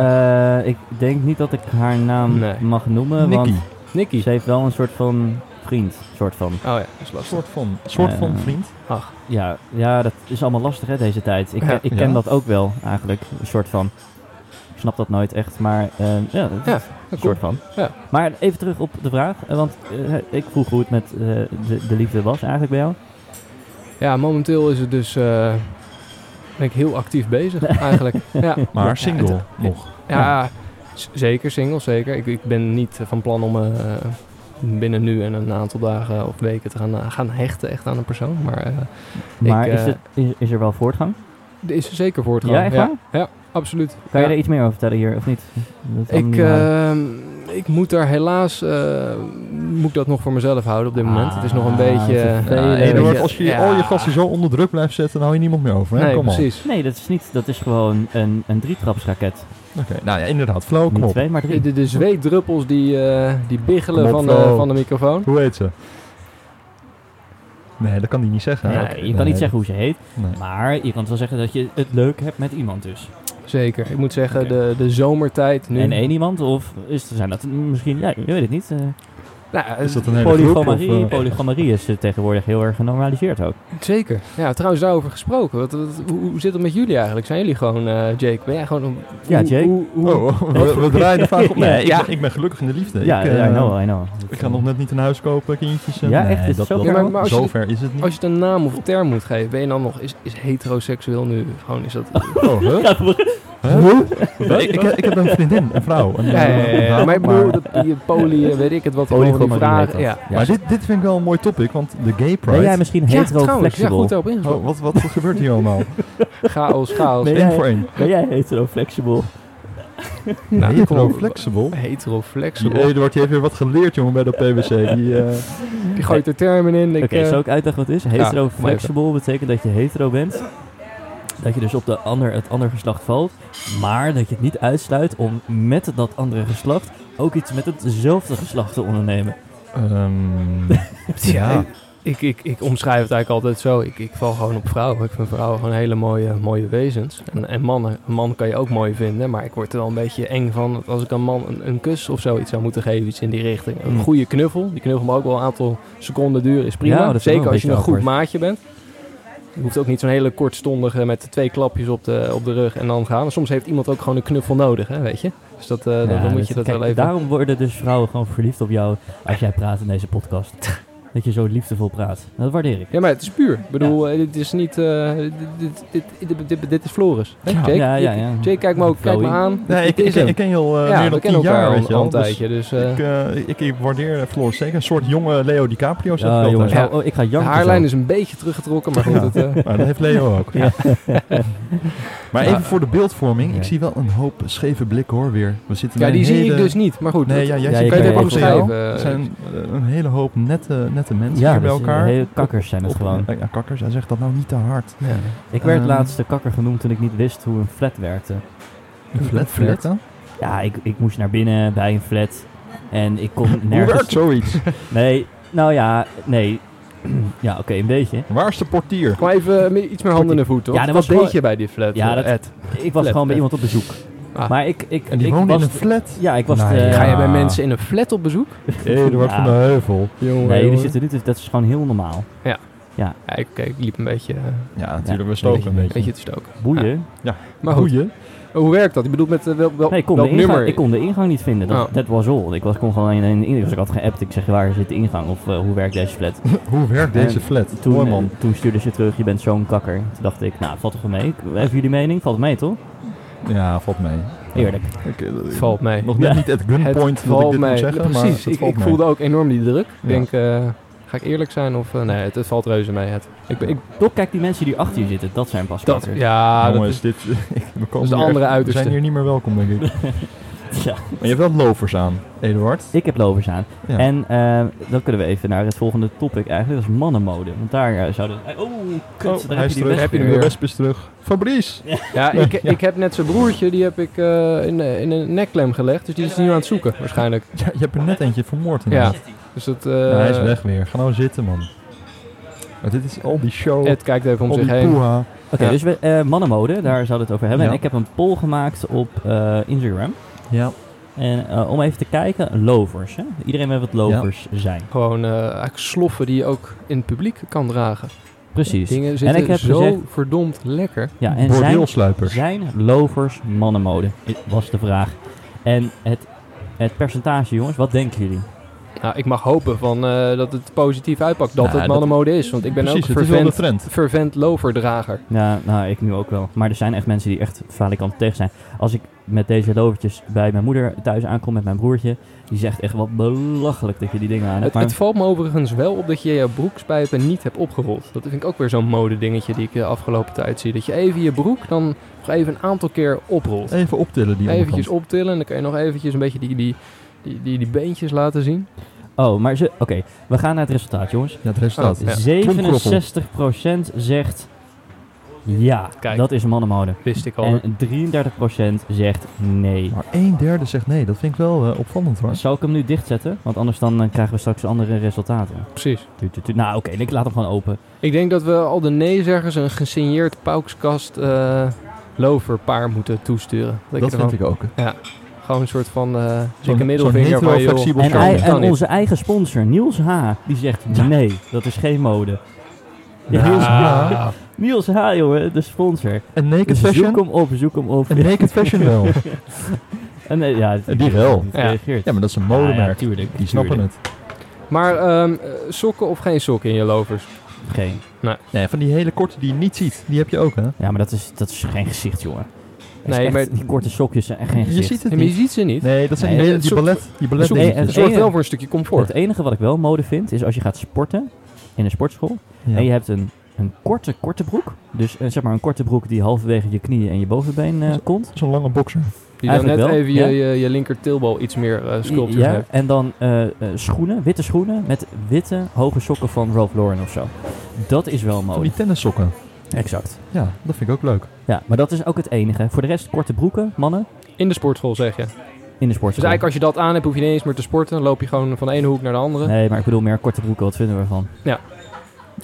Eh, ik denk niet dat ik haar naam
Nee.
mag noemen,
Nicky.
want
Nicky.
ze heeft wel een soort van vriend, soort van.
Oh ja, dat is
Een
lastig.
soort van, soort van
Eh,
vriend.
Ach,
Ja, ja, dat is allemaal lastig hè, deze tijd. Ik,
Ja.
ik ken
Ja.
dat ook wel eigenlijk, een soort van. Ik snap dat nooit echt, maar eh, ja, dat
Ja,
is een soort van.
Ja.
Maar even terug op de vraag, eh, want eh, ik vroeg hoe het met eh, de, de liefde was eigenlijk bij jou. <laughs>
Ja, momenteel is het dus... eh, ben ik heel actief
<laughs>
bezig eigenlijk. ja.
Maar
Ja,
single
het-
nog.
Ja, z- zeker single, zeker. Ik, ik ben niet eh, van plan om eh, binnen nu en een aantal dagen of weken te gaan, eh, gaan hechten echt aan een persoon. Maar eh,
Maar
Ik,
is,
eh,
het, is, is er wel voortgang?
er is zeker voortgang.
Ja, echt
ja, ja, absoluut.
Kan je
Ja. eh,
er iets meer over vertellen hier, of niet? Dat
Ik,
anonieme-
ehm, ik moet daar helaas eh, moet ik dat nog voor mezelf houden op dit moment. Het is nog een
Ah,
beetje... eh,
vervelend.
Ja,
Eduard,
ja,
als je
ja.
al je gasten zo onder druk blijft zetten, dan hou je niemand meer over. Hè?
Nee,
Kom op.
precies.
Nee, dat is niet. Dat is gewoon een, een drietrapsraket.
Oké, nou ja, inderdaad. Flow, kom
Niet
op.
twee, maar
De,
drie.
de, de zweetdruppels die, eh, die biggelen
Kom op,
van, de,
Flo.
van de microfoon.
Hoe heet ze? Nee, dat kan hij niet zeggen.
Ja,
Oké,
je kan
nee,
niet zeggen hoe ze heet,
nee.
maar je kan het wel zeggen dat je het leuk hebt met iemand dus.
Zeker. Ik moet zeggen,
Oké.
de, de zomertijd nu...
En één iemand, of is, zijn dat misschien, ja, je weet het niet. eh,
Nou,
Is dat een hele groep? Of,
polygomarie,
eh,
polygomarie is eh, tegenwoordig heel erg genormaliseerd ook.
Zeker. Ja, trouwens daarover gesproken. Wat, wat- hoe, hoe zit het met jullie eigenlijk? Zijn jullie gewoon, eh, Jake? Ben jij gewoon... een-
Ja,
hoe-
Jake.
hoe- hoe-
Oh, we, we draaien de vraag op. Nee, ik,
<laughs> Ja.
ben, ik ben gelukkig in de liefde.
ja,
ik, eh,
ja, I know, I know.
ik ga nog net niet een huis kopen, kindjes. en-
Ja,
Nee,
echt, is het zo
Ja, maar- maar als je-
Zover is het niet.
Als je het een naam of een term moet geven, ben je dan nog... Is, is heteroseksueel nu gewoon... Is dat...
Oh,
<laughs>
huh?
Ja, voor-
Huh? Ik, ik, ik heb een vriendin, een vrouw. Een,
Ja, ja, ja, ja.
een
Maar ik
vrouw,
bedoel, dat- die poly, eh, weet ik het wat,
Polygonie
allemaal die
heet
vragen.
dat.
Ja.
Ja.
maar dit, dit vind ik wel een mooi topic, want de gay
Ben
pride...
jij misschien
Ja, trouwens, ja,
hetero-flexible?
goed daarop ingezocht.
Oh, wat, wat gebeurt hier allemaal?
Chaos, chaos.
Nee,
Eén
jij-
voor één.
ben jij hetero-flexible?
Nou,
Hetero
kom-
flexible. Die
Heteroflexibel.
Eduard die heeft weer wat geleerd, jongen, bij dat <laughs> PwC. Die, eh,
Die gooit de termen in. Ik,
Oké,
eh,
zou ik uitleggen wat het is?
ja,
Hetero-flexible betekent dat je hetero bent. Dat je dus op de ander, het andere geslacht valt. Maar dat je het niet uitsluit om met dat andere geslacht ook iets met hetzelfde geslacht te ondernemen.
ehm, ja.
ik, ik, ik omschrijf het eigenlijk altijd zo. Ik, ik val gewoon op vrouwen. Ik vind vrouwen gewoon hele mooie, mooie wezens. En, en mannen, een man kan je ook mooi vinden. Maar ik word er wel een beetje eng van als ik een man een, een kus of zoiets zou moeten geven. Iets in die richting. Een
Mm.
goede knuffel. Die knuffel mag ook wel een aantal seconden duren. Is
Ja,
prima.
dat is wel
Zeker
een
als je een
beetje
goed
awkward.
maatje bent. Je hoeft ook niet zo'n hele kortstondige met twee klapjes op de, op de rug en dan gaan. Soms heeft iemand ook gewoon een knuffel nodig, hè, weet je. Dus dat, eh, dan-
Ja,
dan moet
dat-
je dat
kijk,
wel even...
Daarom worden dus vrouwen gewoon verliefd op jou als jij praat in deze podcast.
<laughs>
dat je zo liefdevol praat. Dat waardeer ik.
Ja, maar het is puur. Ik bedoel, eh, dit is niet... eh, dit, dit, dit, dit, dit is Floris. Hè,
Ja.
Jake?
Ja, ja,
Je-
ja.
Jake, kijk me ook. Kijk me
Flowey.
aan.
Nee, ik, ik,
Dit is hem.
ik ken je al eh,
ja,
meer
we
dan
kennen
tien
elkaar
jaar,
al,
weet je
al
wel.
een
Dus
tijdje. Dus, eh,
ik, eh, ik, ik waardeer Floor zeker. Een soort jonge Leo DiCaprio, zeg
Ja,
ik
jongens,
altijd.
Ja.
hou- oh, ik ga
de
janken.
haarlijn
zo.
is een beetje teruggetrokken, maar goed.
Ja.
Het, eh,
Maar dat heeft Leo ook. <laughs>
Ja.
Maar even voor de beeldvorming.
Ja.
Ik zie wel een hoop scheve blikken hoor weer. We zitten
ja,
bij
die
een
zie ik
hele-
dus niet. Maar goed,
Nee,
het-
ja, jij
Ja,
ziet
je
kan
kan
je
het
even
even
omschrijven.
omschrijven.
Er zijn eh, een hele hoop nette, nette mensen
Ja,
hier bij
dat is
elkaar.
heel- kakkers zijn het
Op-
gewoon.
Ja, kakkers. Hij zegt dat nou niet te hard.
ja.
Ik werd
Ehm.
laatst de kakker genoemd toen ik niet wist hoe een flat werkte.
Een flat
flat?
flirten?
Ja, ik, ik moest naar binnen bij een flat. En ik
<laughs>
kon
Hoe werkt
nergens...
zoiets?
Nee, nou ja, nee. <clears throat> Ja, oké, een beetje.
Waar is de portier?
Kom even eh, meer- iets meer handen in de voeten.
Ja,
Ja,
dat was
dat Wat
gewoon-
deed je bij die flat,
Ja,
eh,
dat-
Ed?
Ik was
Flat,
gewoon bij
flat.
iemand op bezoek.
Ah.
Maar ik... ik
En die
ik
woont in
was
een flat.
Ja, ik was...
Nee,
de- <laughs>
Ga je bij
Ah.
mensen in een flat op bezoek?
Eduard
Ja.
van de Heuvel.
Jongen,
Nee, jullie
jongen.
zitten niet... dus Dat is gewoon heel normaal.
Ja, ik, ik liep een beetje, eh, een
Ja,
natuurlijk,
natuurlijk. We
stoken een
stoken een beetje.
beetje te stoken.
Boeien.
Maar goed, hoe werkt dat? Ik bedoel, met eh, wel, wel,
Nee, ik kon, de
welk
ingang,
nummer?
ik kon de ingang niet vinden. Dat
Oh.
dat was all. Ik was, kon gewoon in een ingang. Dus ik had geappt. Ik zeg, waar zit de ingang? Of eh, hoe werkt deze flat?
Hoe werkt deze
En
flat?
Toen,
<laughs> Mooi man.
eh, toen stuurde ze terug, je bent zo'n kakker. Toen dacht ik, nou, valt toch wel mee? Ik- Even jullie mening? Valt mee, toch?
Ja, valt mee.
Eerlijk.
Ik, eh,
Het valt mee.
Nog net
Ja.
niet at
Het
gunpoint dat ik
valt
dit
mij-
moet zeggen,
Ja,
maar
precies.
het
ik
valt
ik
mee.
voelde ook enorm die druk. Ik
Ja.
denk, eh, ga ik eerlijk zijn of... eh, nee, het, het valt reuze mee. Het, ik, ben- ik,
Toch, kijk, die mensen die achter je zitten, dat zijn pas
dat,
kakkers.
ja, dat
Jongens,
is,
dit, <laughs> ik- we komen
de
hier
andere
echt- We
uiterste.
zijn hier niet meer welkom, denk ik. maar
Ja.
je hebt wel lovers aan, Eduard.
Ik heb lovers aan.
Ja.
En eh, dan kunnen we even naar het volgende topic eigenlijk. Dat is mannenmode. Want daar eh, zouden... Oh, kut.
Oh,
daar
hij
heb
is
je die
terug.
wesp
Heb je hem
weer.
de
weer.
wesp is terug. Fabrice!
ja, ik,
<laughs>
ik heb net zijn broertje, die heb ik eh, in, in een nekklem gelegd. Dus die is nu aan het zoeken, waarschijnlijk.
Ja, je hebt er net eentje vermoord.
Ja,
inderdaad.
dus dat... eh,
Ja, hij is weg weer. Ga nou zitten, man. Maar dit is al die show,
Ed kijkt even om
al die
zich heen.
poeha.
Oké,
Ja.
dus we, eh, mannenmode, daar zouden we het over hebben.
Ja.
En ik heb een poll gemaakt op eh, Instagram.
Ja.
En eh, om even te kijken, lovers. Hè? Iedereen weet wat lovers zijn.
Gewoon eh, eigenlijk sloffen die je ook in het publiek kan dragen.
Precies.
Dingen zitten
ik heb
zo
gezegd-
verdomd lekker.
Ja, en zijn,
Bordeelsluipers.
zijn lovers mannenmode? Was de vraag. En het, het percentage, jongens, wat denken jullie?
Nou, ik mag hopen van, eh, dat het positief uitpakt. Dat
Nou,
het
dat-
mannenmode is. Want ik ben
Precies,
ook
het is wel de
vervent,
trend.
vervent loverdrager.
Ja, nou, ik nu ook wel. Maar er zijn echt mensen die echt falikant tegen zijn. Als ik met deze lovertjes bij mijn moeder thuis aankom met mijn broertje, die zegt echt wat belachelijk dat je die dingen aan
Het,
hebt. Maar
het valt me overigens wel op dat je je broekspijpen niet hebt opgerold. Dat vind ik ook weer zo'n modedingetje die ik de afgelopen tijd zie. Dat je even je broek dan nog even een aantal keer oprolt.
Even optillen die
Eventjes
onderkant.
optillen en dan kan je nog eventjes een beetje die, die, die, die, die beentjes laten zien.
Oh, maar ze... Oké, we gaan naar het resultaat, jongens.
Ja, het resultaat.
Oh, ja.
67% zegt ja,
Kijk. Oh.
dat is mannenmode.
Wist ik al.
En 33% zegt nee.
Maar een derde zegt nee. Dat vind ik wel eh, opvallend hoor.
Zal ik hem nu dichtzetten? Want anders dan eh, krijgen we straks andere resultaten.
Precies.
Tu, tu, tu. Nou, oké, ik laat hem gewoon open.
Ik denk dat we al de nee-zeggers een gesigneerd paukskast eh loverpaar moeten toesturen. je
Dat
er gewoon-
vind ik ook.
Gewoon een soort van eh
Zo'n-
dikke
zo'n
middelvinger
hetero
van, joh,
flexibel
En,
Kan
hij-
niet.
en onze eigen sponsor, Niels H., die zegt nee, dat is geen mode. Ja,
Nou.
Niels, H,
Ja.
Niels H, jongen, de sponsor.
En naked
Dus zoek
fashion?
hem op, zoek hem op.
En naked fashion
<laughs>
wel.
En, eh, ja,
Die wel.
niet
Ja.
gereageerd.
Ja, maar dat is een
Ah, ja,
modemerk.
tuurlijk.
Die snappen
tuurlijk.
het.
Maar ehm, eh, sokken of geen sokken in je lovers?
Geen.
Nee, van die hele korte die je niet ziet. Die heb je ook hè?
Ja, maar dat is, dat is geen gezicht, jongen. Dat is
Nee,
echt-
maar-
die korte sokjes zijn echt geen
Je
gezicht.
ziet
En
het
je
niet.
ziet ze niet.
Nee, dat zijn die,
Nee,
hele-
het
die
zoek-
ballet, die ballet
zoek-
dingetjes.
nee,
Het
het
zorgt
ene-
wel voor een stukje comfort.
Het enige wat ik wel mode vind, is als je gaat sporten in een sportschool.
Ja.
En je hebt een, een korte, korte broek. Dus eh, zeg maar een korte broek die halverwege je knieën en je bovenbeen eh, komt.
Zo'n lange boxer.
Die dan net
eigenlijk wel,
even
ja.
je, je, je linker tilbal iets meer eh sculptures
Ja,
heeft.
en dan eh, eh, schoenen, witte schoenen met witte hoge sokken van Ralph Lauren of zo. Dat is wel
Oh,
Van
mode.
die tennissokken.
Exact.
Ja, dat vind ik ook leuk.
Ja, maar dat is ook het enige. Voor de rest korte broeken, mannen,
In de sportschool zeg je. Dus
in de sportschool.
eigenlijk als je dat aan hebt, hoef je niet eens meer te sporten. Dan loop je gewoon van de ene hoek naar de andere.
Nee, maar ik bedoel meer korte broeken, wat vinden we ervan?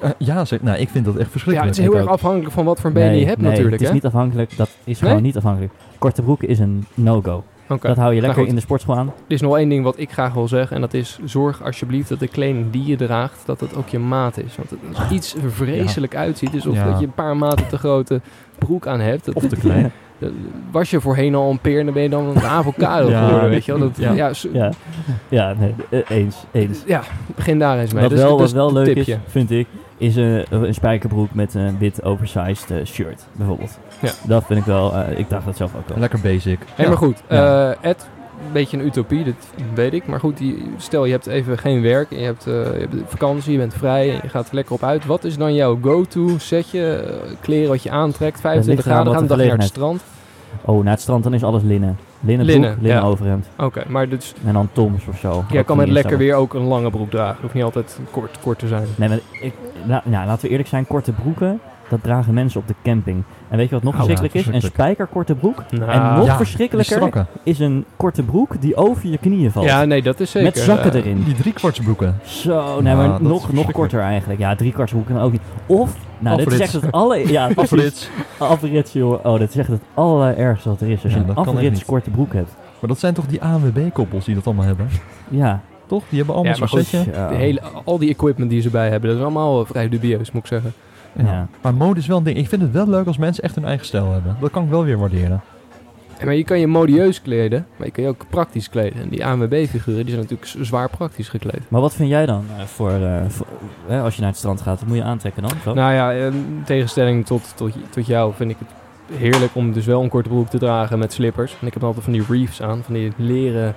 Eh, ja, zeg, nou, ik vind dat echt
ja,
verschrikkelijk.
het is heel
Ik
erg
ook.
afhankelijk van wat voor benen je hebt
nee,
natuurlijk.
het is
hè?
niet afhankelijk. Dat is
Nee?
gewoon niet afhankelijk. Korte broeken is een no-go.
Oké.
Dat hou je
Nou
lekker
goed.
in de sportschool aan.
Er is nog één ding wat ik graag wil zeggen. En dat is, zorg alsjeblieft dat de kleding die je draagt, dat het ook je maat is. Want het als <laughs> iets vreselijk uitziet. Dus of
Ja.
dat je een paar maten te grote broek aan hebt. Dat,
Of te klein.
dat- was je voorheen al een peer en dan ben je dan een avocado
Ja,
geworden,
dat-
weet je wel. Dat,
ja.
ja. zo-
<laughs> Ja, ja nee, eh, eens, eens.
ja, begin daar eens mee.
Wat
Dus-
wel,
dus
wat wel
een
leuk
tipje.
is, vind ik, is eh, een spijkerbroek met een wit oversized eh, shirt, bijvoorbeeld.
Ja.
Dat vind ik wel, eh, ik dacht dat zelf ook wel.
Lekker basic.
Hé,
Ja.
maar goed.
Ja.
eh, Ed, een beetje een utopie, dat weet ik. Maar goed, die, stel je hebt even geen werk, en je hebt, eh, je hebt vakantie, je bent vrij en je gaat er lekker op uit. Wat is dan jouw go-to setje, eh, kleren wat je aantrekt, 25
ligt eraan
graden,
wat
gaan een
de
dagje naar het strand.
Oh, naar het strand dan is alles linnen. Linnen broek,
Linnen,
linnen,
ja.
overhemd.
Oké, maar dus,
En dan toms of zo.
jij
Ook
kan
van
met
die
lekker
Instagram.
weer ook een lange broek dragen. Hoeft niet altijd kort, kort te zijn.
Nee, maar ik, nou, nou, laten we eerlijk zijn, korte broeken, dat dragen mensen op de camping. En weet je wat nog
Oh, ja,
verschrikkelijk is? Een
verschrikkelijk.
spijkerkorte broek.
Nou,
en nog
ja, Die
verschrikkelijker
strakke.
is een korte broek die over je knieën valt.
Ja, nee, dat is zeker.
met zakken
eh,
erin.
Die driekwartsbroeken.
Zo, nee,
Ja,
maar
dat is
nog, nog
verschrikkelijk.
korter eigenlijk. Ja, driekwarts broeken kan ook niet. Of, nou, dit is echt
Afrits.
het alle... <laughs> Ja, precies.
Afrits.
Afrits, joh. Oh, dit is echt het allerergste wat er is. Als
Ja,
je een
dat kan echt
afrits
niet.
korte broek hebt.
Maar dat zijn toch die ANWB-koppels die dat allemaal hebben?
Ja.
Toch? Die hebben allemaal
Ja, maar
zo'n
goed,
setje.
ja.
de hele, al die equipment die ze bij hebben, dat is allemaal eh, vrij dubieus, moet ik zeggen.
Ja.
Ja. Maar mode is wel een ding. Ik vind het wel leuk als mensen echt hun eigen stijl hebben. Dat kan ik wel weer waarderen.
Ja, maar je kan je modieus kleden, maar je kan je ook praktisch kleden. En die ANWB-figuren die zijn natuurlijk z- zwaar praktisch gekleed.
Maar wat vind jij dan eh, voor, eh, voor- eh, als je naar het strand gaat? Wat moet je aantrekken dan? Zo?
Nou ja, in tegenstelling tot, tot, tot jou vind ik het heerlijk om dus wel een korte broek te dragen met slippers. En ik heb altijd van die reefs aan, van die leren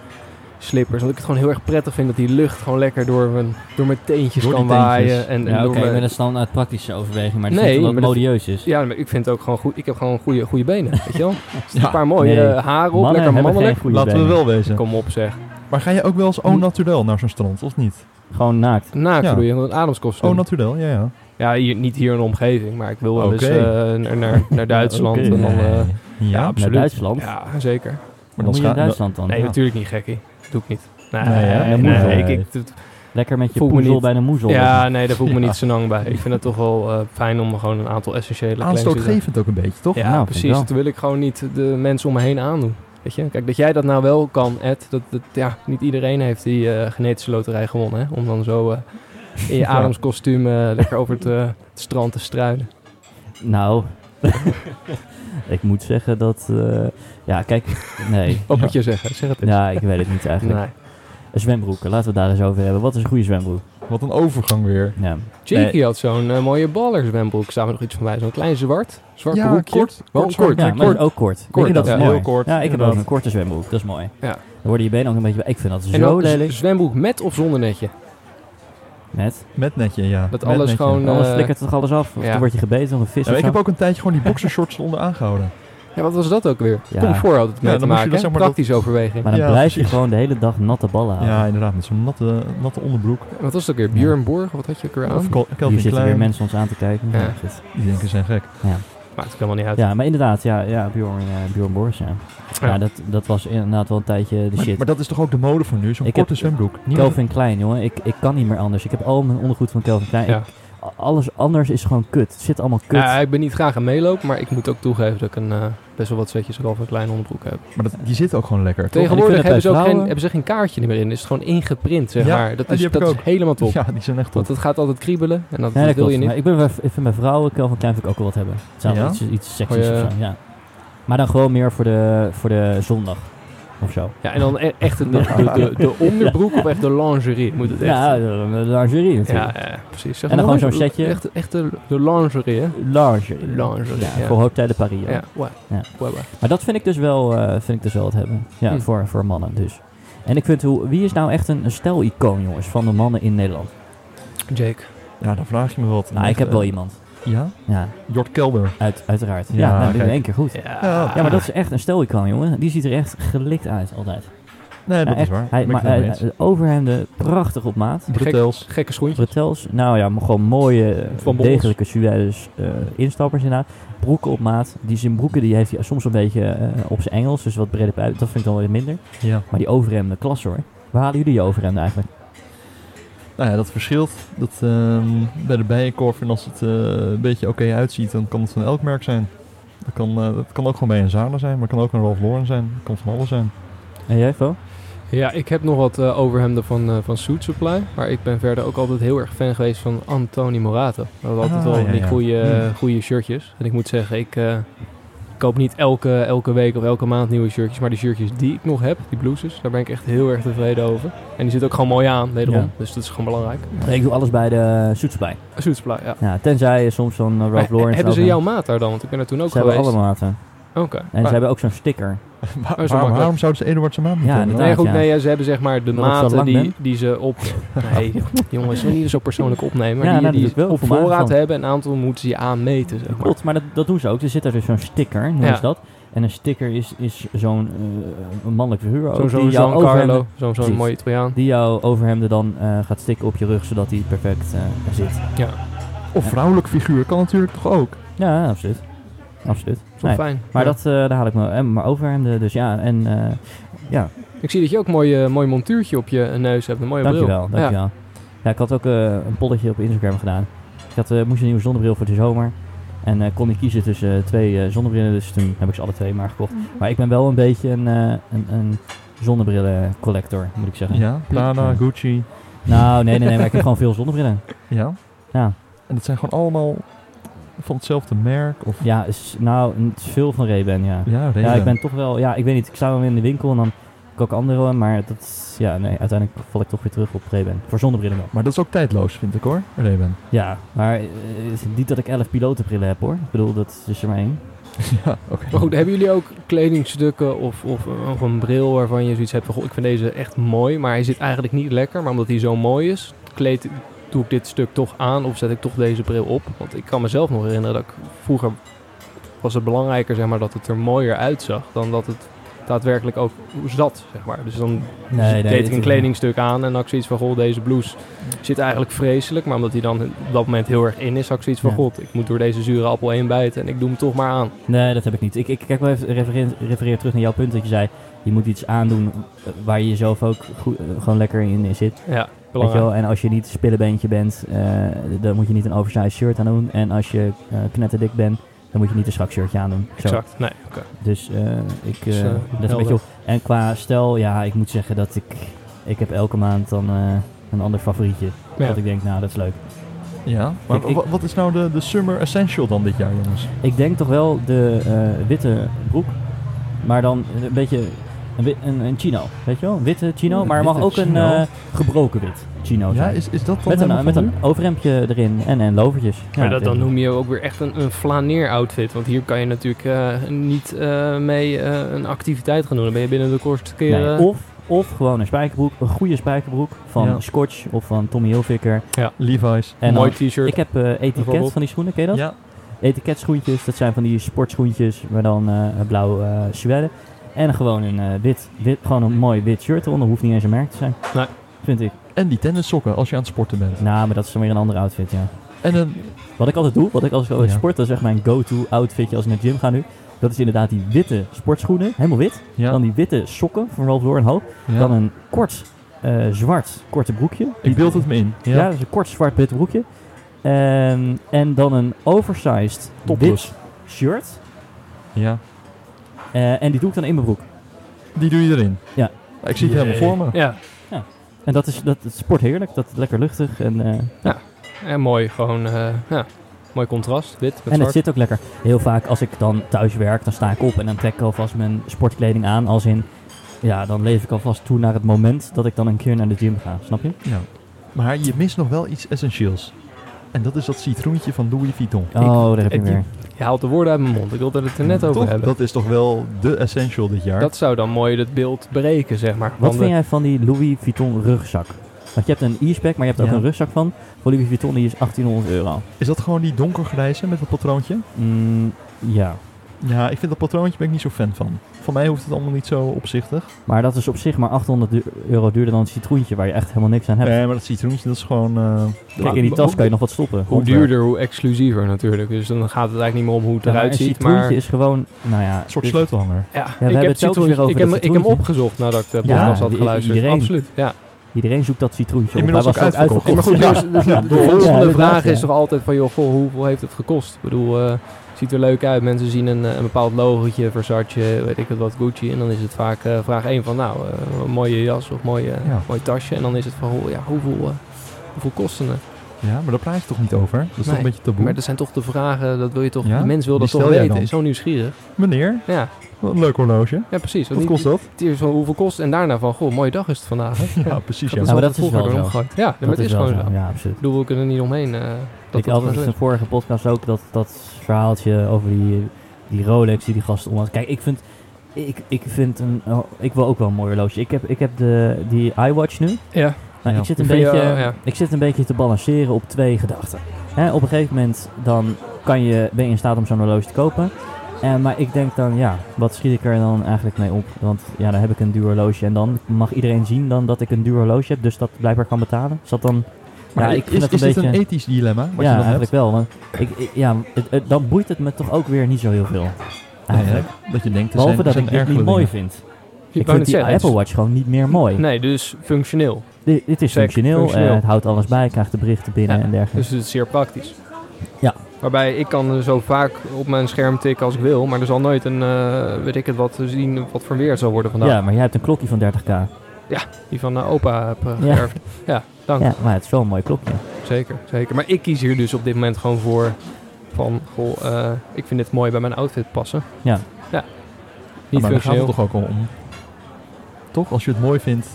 slippers. Omdat ik het gewoon heel erg prettig vind dat die lucht gewoon lekker door mijn, door mijn teentjes
Door die
kan waaien.
teentjes.
En, en
ja,
door
oké,
mijn-
met een standaard praktische overweging, maar dat
eh,
nee,
Nee,
omdat het
maar dat-
modieus is.
ja, maar ik vind het ook gewoon goed. Ik heb gewoon goede, goede benen, weet je wel?
Ja.
Een paar mooie
nee.
eh, haren op,
Mannen
lekker
hebben
mannelijk.
geen goede
Laten we
benen.
wel wezen.
Kom op zeg.
Maar ga je ook wel eens au naturel naar zo'n strand, of niet?
Gewoon naakt.
Naakt
Ja.
doe je een ademskostuum.
Au
Oh,
naturel, ja, ja.
Ja, hier, niet hier in de omgeving, maar ik wil wel eens
Oké.
eh, naar, naar, naar Duitsland.
Oké.
en dan, eh,
Nee. ja,
ja,
Naar
absoluut.
Duitsland?
Ja, zeker.
Maar dan moet je
maar dan
in
scha- nou,
Duitsland dan.
Nee,
Ja.
natuurlijk niet gekkie. Doe ik niet. Nee,
Nee, hè?
nee,
Dat moet wel.
ik, ik- dat-
Lekker met je
Voel me
poezel
niet.
bij de moezel.
ja, nee, daar voel ik me
Ja.
niet zo lang bij. Ik vind het toch wel eh, fijn om gewoon een aantal essentiële claims te
aanstootgevend ook een beetje, toch?
doen. Ja,
Nou, vind ik
precies.
wel.
Dat wil ik gewoon niet de mensen om me heen aandoen. Weet je? Kijk, dat jij dat nou wel kan, Ed. Dat, dat, ja, niet iedereen heeft die eh, genetische loterij gewonnen. Hè? Om dan zo eh, in je
Ja.
ademskostuum eh, lekker over het, eh, het strand te struinen.
Nou, <laughs> ik moet zeggen dat... eh, ja, kijk,
<laughs>
nee.
Wat moet je zeggen? Zeg het eens.
Ja, ik weet het niet eigenlijk.
Nee.
Zwembroeken, laten we het daar eens over hebben. Wat is een goede zwembroek?
Wat een overgang weer.
Ja.
Jakey had zo'n eh, mooie ballerzwembroek. Staan we nog iets van bij? Zo'n klein zwart. Zwart
Ja,
broekje.
kort,
Wel
kort
kort.
zwart.
Ja, maar
kort.
ook kort. Vind
Kort,
je dat
ja,
is mooi.
heel kort,
Ja, ik heb ook
inderdaad.
een korte zwembroek. Dat is mooi.
Ja.
Dan worden je benen ook een beetje... Ik vind dat
En
zo
dan
lelijk.
z- zwembroek met of zonder netje.
Met.
Met netje, ja.
Dat
Met
alles
netje.
gewoon, eh,
Anders flikkert het toch alles af? Of
ja.
dan word je gebeten door een vis
Ja,
of
ik
zo?
heb ook een tijdje gewoon die boxershorts eronder aangehouden.
Ja, wat was dat ook weer?
Ja.
Kom voor had het mee
dan
te
moest je dat,
maken. Dat,
zeg maar,
Praktische overweging.
Maar dan
Ja,
blijf je
precies.
gewoon de hele dag natte ballen
Ah.
houden.
Ja, inderdaad, met zo'n natte, natte onderbroek.
Wat was het ook weer? Björn Borg? Wat had je ook weer aan?
Of Col-
Hier
Calvin
zitten weer
Klein.
mensen ons aan te kijken. Ja,
Ja.
goed.
Die denken ze zijn gek.
Maakt ook helemaal niet uit.
ja maar inderdaad, ja, ja Bjorn, eh Bjorn Borgs, ja. Ja,
Ja.
dat, dat was inderdaad wel een tijdje de
Maar,
shit.
maar dat is toch ook de mode voor nu? Zo'n
Ik
korte
heb-
zwembroek. Niemand-
Kelvin Klein, jongen. Ik, ik kan niet meer anders. Ik heb al mijn ondergoed van Kelvin Klein.
Ja.
Ik- a- alles anders is gewoon kut. Het zit allemaal kut.
Ja, Eh, ik ben niet graag aan meelopen, maar ik moet ook toegeven dat ik een, eh, best wel wat setjes al van klein onderbroek heb.
Maar dat, die zit ook gewoon lekker.
En die
Tegenwoordig
kunnen
hebben ze,
bij
ook geen,
vrouwen.
hebben ze geen kaartje meer in. Is het gewoon ingeprint, zeg
Ja,
maar. Dat,
die
is,
heb ik
dat is
ook.
helemaal top.
Ja, die zijn echt top.
Want het gaat altijd kriebelen en dat,
Ja,
dat wil
klopt.
je
Maar
niet.
ik ben wel- ik vind bij vrouwen Kelvin Klein vind ik ook wel wat hebben. Het zou wel
Ja?
iets, iets seksies
Goeie-
of zo, ja. Maar dan gewoon meer voor de, voor de zondag. Of zo.
Ja, en dan e- echt de, de, de,
<laughs>
de onderbroek of echt de lingerie moet het echt.
Ja, de, de lingerie natuurlijk.
ja, ja, precies. Zeg
En dan
maar,
gewoon zo'n
de-
setje.
Echt, echt de, de lingerie, hè?
Lingerie.
Lingerie,
Ja,
ja.
voor Hotel de Paris. ja.
Ja, wa-
Ja.
wa- wa.
Maar dat vind ik dus wel, eh, vind ik dus wel wat hebben. Ja,
Hm.
voor, voor mannen dus. En ik vind, hoe, wie is nou echt een, een stijl-icoon, jongens, van de mannen in Nederland?
Jake.
Ja, dan vraag je me wat. eh,
Nou, ik heb wel iemand.
Ja?
Ja,
Jort Kelder.
uit, uiteraard. Ja,
Ja,
nou, dit
kijk.
in één keer goed.
Ja.
Ja.
Ja, maar dat is echt een stijl-icoon, jongen. Die ziet er echt gelikt uit, altijd.
Nee, dat
Ja,
is
echt.
waar.
Hij,
Ben ik
maar eh,
het nou helemaal
hij- hij- overhemden prachtig op maat.
eens. Brutels.
Gekke schoentje.
Bretels, nou ja, maar gewoon mooie, eh,
Van Bommels.
degelijke Suèdes eh, instappers inderdaad. Broeken op maat. Die zijn broeken die heeft hij soms een beetje eh, op zijn Engels, dus wat breder uit. Dat vind ik dan wel weer minder.
Ja.
Maar die overhemden, klasse hoor. Waar halen jullie je overhemden eigenlijk?
Nou ja, dat verschilt. Dat, ehm, bij de bijenkorf, en als het eh, een beetje oké uitziet, dan kan het van elk merk zijn. Dat kan, eh, dat kan ook gewoon bij een Zara zijn, maar kan ook een Ralph Lauren zijn. Dat kan van alles zijn.
En jij, Fo?
Ja, ik heb nog wat eh, overhemden van, eh van Suit Supply. Maar ik ben verder ook altijd heel erg fan geweest van Antoni Morato. We hadden altijd
Ah,
wel
ja,
van die
ja.
Mm.
goede, goede shirtjes. En ik moet zeggen, ik eh, koop niet elke, elke week of elke maand nieuwe shirtjes. Maar die shirtjes die ik nog heb, die blouses, daar ben ik echt heel erg tevreden over. En die zit ook gewoon mooi aan, wederom.
Ja.
Dus dat is gewoon belangrijk.
Ik doe alles bij de Soetspij.
Suit Supply, ja.
Ja, tenzij je soms zo'n eh, Ralph
Maar
Lauren...
hebben ze
overhemd-
jouw maat daar dan? Want ik ben er toen ook
Ze hebben
geweest. Ah.
alle maten.
Oké.
En ze
Maar-
hebben ook zo'n sticker.
Waar-
makkelijk.
waarom, waarom zouden ze Eduard zijn naam niet
Ja,
kennen?
inderdaad.
Nee, goed,
ja.
nee, ja, ze hebben zeg maar de
Omdat ik zo
maten
lang
die,
ben.
die
<laughs>
ze op... Nee, jongens, we niet zo persoonlijk opnemen.
Ja, nou,
Maar die,
dat
die
is wel
op
voor mij
voorraad
van.
hebben, een aantal moeten ze je aanmeten, zeg maar.
Klopt, maar dat, dat doen ze ook. Er zit daar dus zo'n sticker, noemen
Ja.
ze dat. En een sticker is, is zo'n eh, een mannelijk figuur ook.
Zo'n
die jouw
zo'n Giancarlo,
overhemden-
zo'n zo'n
Precies.
mooie Italiaan.
die jouw overhemden dan eh, gaat stikken op je rug, zodat die perfect eh, zit.
Of vrouwelijk figuur kan natuurlijk toch ook?
Ja, absoluut. Absoluut.
Zo
Nee,
fijn.
Maar
Ja.
dat, eh, daar haal ik me en maar overhemden. Dus ja, en eh
Ik zie dat je ook een mooi, eh, mooi montuurtje op je neus hebt, een mooie bril.
dankjewel, dankjewel. Ja. ik had ook eh, een polletje op Instagram gedaan. Ik had, eh, moest een nieuwe zonnebril voor de zomer. En eh, kon ik kiezen tussen eh, twee eh, zonnebrillen, dus toen heb ik ze alle twee maar gekocht. Maar ik ben wel een beetje een, eh een, een zonnebrillencollector, moet ik zeggen.
Ja, Prada,
Ja.
Gucci.
Nou, nee, nee, nee, maar ik heb gewoon veel zonnebrillen.
Ja.
Ja.
En dat zijn gewoon allemaal van hetzelfde merk? Of...
Ja, is, nou, het is veel van Ray-Ban, ja.
Ja,
Ja,
Ray-Ban.
ik ben toch wel, ja, ik weet niet, ik sta wel in de winkel en dan kook andere, maar dat, is- ja, nee, uiteindelijk val ik toch weer terug op Ray-Ban. Voor zonnebrillen wel.
Maar dat is ook tijdloos, vind ik hoor, Ray-Ban. <laughs>
Ja, maar eh, is het niet dat ik 11 pilotenbrillen heb hoor. Ik bedoel, dat is er maar één.
ja, oké.
Maar goed, hebben jullie ook kledingstukken of, of, eh, of een bril waarvan je zoiets hebt van... Goh, ik vind deze echt mooi, maar hij zit eigenlijk niet lekker. Maar omdat hij zo mooi is, kleed, doe ik dit stuk toch aan of zet ik toch deze bril op. Want ik kan mezelf nog herinneren dat ik vroeger was het belangrijker zeg maar, dat het er mooier uitzag... dan dat het daadwerkelijk ook zat, zeg maar. Dus dan deed ik een kledingstuk aan en had ik zoiets van... Goh, deze blouse zit eigenlijk vreselijk. Maar omdat hij dan op dat moment heel erg in is, had ik zoiets van...
Ja.
God, ik moet door deze zure appel heen bijten en ik doe hem toch maar aan.
Nee, dat heb ik niet. Ik, ik kijk wel even refereer, refereer terug naar jouw punt dat je zei, je moet iets aandoen eh, waar je jezelf ook goed, eh, gewoon lekker in, in zit.
Ja,
Weet je
belangrijk.
wel? En als je niet spillebeentje bent, eh, dan moet je niet een oversized shirt aan doen. En als je eh, knetterdik bent, dan moet je niet een strak shirtje aandoen. Zo.
Exact. Nee, oké.
Dus eh, ik eh
Dus, eh,
let een
helder.
beetje op. En qua stijl, ja, ik moet zeggen dat ik, ik heb elke maand dan eh, een ander favorietje.
Ja.
Dat ik denk, nou, dat is leuk.
Ja, maar
Ik- ik-
wa- wat is nou de, de Summer Essential dan dit jaar, jongens?
Ik denk toch wel de eh, witte broek. Maar dan een beetje een, wi- een, een chino. Weet je wel? Een witte chino.
Een
Maar er mag
witte
ook een
chino.
eh, gebroken wit chino
Ja,
zijn.
is, is dat dan
Nou, met een,
helemaal
met
van
een
nu?
overhemdje erin en, en lovertjes. Ja,
maar dat, dan
denk ik.
noem je ook weer echt een, een flaneer-outfit. Want hier kan je natuurlijk eh, niet eh, mee eh, een activiteit gaan doen. Dan ben je binnen de kortste keer...
Nee,
eh,
of, of gewoon een spijkerbroek. Een goede spijkerbroek van
Ja.
Scotch of van Tommy Hilfiger.
Levi's.
En
mooi
dan-
t-shirt.
ik heb eh etiket
Bijvoorbeeld.
van die schoenen, ken je dat?
Ja,
Etiketschoentjes, dat zijn van die sportschoentjes, maar dan eh, blauw eh suède. En gewoon een, eh, wit, wit, gewoon een mooi wit shirt eronder. Hoeft niet eens een merk te zijn.
Nee.
Vind ik.
En die tennissokken als je aan het sporten bent.
Nou, maar dat is dan weer een andere outfit, ja.
En een,
Wat ik altijd doe, wat ik als ik altijd
Ja.
sport, dat is echt mijn go-to outfitje als ik naar de gym ga nu. Dat is inderdaad die witte sportschoenen, helemaal wit.
ja,
Dan die witte sokken van Ralph Lauren Hope.
ja.
Dan een kort eh, zwart korte broekje.
ik beeld het me in.
Ja,
Ja,
dat is een kort zwart witte broekje. Ehm, en dan een oversized
Topless.
wit shirt.
Ja.
Eh, en die doe ik dan in mijn broek.
Die doe je erin.
Ja.
Ik zie het helemaal voor me.
Ja,
En dat is dat, het sport heerlijk. Dat is lekker luchtig. En, eh,
en mooi gewoon, eh, ja, mooi contrast, wit met
en het
zwart.
zit ook lekker. Heel vaak als ik dan thuis werk, dan sta ik op en dan trek ik alvast mijn sportkleding aan. Als in, ja, dan leef ik alvast toe naar het moment dat ik dan een keer naar de gym ga. Snap je?
Ja. Maar je mist nog wel iets essentieels. En dat is dat citroentje van Louis Vuitton.
Oh, daar heb je
en
hem weer.
Je haalt de woorden uit mijn mond, ik wilde het er net over
Toch?
hebben.
Dat is toch wel de essential dit jaar.
Dat zou dan mooi het beeld breken, zeg maar.
Wat
Want
vind
de-
jij van die Louis Vuitton rugzak? Want je hebt een e-spec, maar je hebt ook
Ja.
een rugzak van. Voor Louis Vuitton die is 1800 euro.
Is dat gewoon die donkergrijze met dat patroontje?
Mm, ja.
Ja, ik vind dat patroontje ben ik niet zo fan van. Voor mij hoeft het allemaal niet zo opzichtig.
Maar dat is op zich maar 800 du- euro duurder dan een citroentje waar je echt helemaal niks aan hebt.
Nee, maar dat citroentje dat is gewoon... eh,
Kijk, in die tas
hoe-
kan je nog wat stoppen.
Hoe duurder, hoe exclusiever natuurlijk. Dus dan gaat het eigenlijk niet meer om hoe het
Ja, maar
eruit
een
ziet.
citroentje
Maar ja,
is gewoon, nou ja...
een soort
dus-
sleutelhanger.
we hebben het telkens
citroen-
weer over
ik, heb,
dat
ik heb hem
citroentje.
opgezocht nadat de
Ja,
podcast had
i-
geluisterd.
iedereen.
Absoluut, ja.
Iedereen zoekt dat citroentje op.
Inmiddels
Hij was
ook uitverkocht.
maar goed,
Ja.
dus- dus de
Ja,
volgende
inderdaad,
vraag
ja.
is toch altijd van, joh, goh, hoeveel heeft het gekost? Ik bedoel, eh, ziet er leuk uit. Mensen zien een, eh, een bepaald logotje, Versace, weet ik het wat, Gucci. En dan is het vaak eh, vraag 1 van, nou, eh, een mooie jas of mooie,
Ja.
mooi tasje. En dan is het van, oh, ja, hoeveel, eh, hoeveel kosten het?
Ja, maar daar praat je toch niet over? Dat is toch
Nee,
een beetje taboe?
Maar dat zijn toch de vragen, dat wil je toch,
Ja?
de mens wil
Die
dat toch
stel jij
weten.
dan.
Is zo nieuwsgierig.
Meneer,
Ja,
wat een leuk horloge.
ja precies.
Wat kost dat?
het? Van hoeveel kost en daarna van, goh, mooie dag is het vandaag. hè?
Ja, precies. Ja.
Ja, maar
altijd
dat is
vroeger
wel
door
zo.
omgegooid. Ja, maar het is,
wel
gewoon zo.
zo. Ja, absoluut.
Ik bedoel, we kunnen er niet omheen. eh, dat
ik had het in de vorige podcast ook dat, dat verhaaltje over die, die Rolex die die gast om had. Kijk, ik vind, ik, ik vind een, oh, ik wil ook wel een mooi horloge. Ik heb, ik heb de, die iWatch nu.
Ja,
Nou,
Ja.
ik, zit een
Ik vind
beetje,
jou- ja.
ik zit een beetje te balanceren op twee gedachten. Hè, op een gegeven moment dan kan je, ben je in staat om zo'n horloge te kopen. En, maar ik denk dan, ja, wat schiet ik er dan eigenlijk mee op? Want ja, dan heb ik een duur horloge. En dan mag iedereen zien dan dat ik een duur horloge heb. Dus dat blijkbaar kan betalen. Is dat dan...
Maar
ja,
is, is dit een ethisch dilemma? Wat
ja,
je dan hebt?
eigenlijk wel. Want ik, ik- ja, het- het- dan boeit het me toch ook weer niet zo heel veel. Eigenlijk.
Nee, hè? Dat je denkt, er
Behalve
zijn, er
dat
zijn
ik dit niet
ergere
mooi
dingen.
vind.
je
ik
kan
vind
het
die
zeggen. het
Apple
is-
Watch gewoon niet meer mooi.
Nee, dus functioneel.
Dit, dit is
Zeker,
functioneel,
functioneel.
eh, het houdt alles bij, krijgt de berichten binnen
Ja,
en dergelijke.
Dus het is zeer praktisch.
Ja.
Waarbij ik kan eh, zo vaak op mijn scherm tikken als ik wil, maar er zal nooit een, eh, weet ik het wat, zien wat voor weer het zal worden vandaag.
ja, maar jij hebt een klokje van 30k.
Die van eh, opa heb eh,
Ja.
geërfd. Ja. dank.
Ja, maar het is wel een mooi klokje.
Zeker, zeker. Maar ik kies hier dus op dit moment gewoon voor van, goh, eh, ik vind dit mooi bij mijn outfit passen.
Ja.
Ja.
Ja,
Niet
Nou, maar daar gaat het
functioneel.
toch ook om. Toch? Als je het mooi vindt.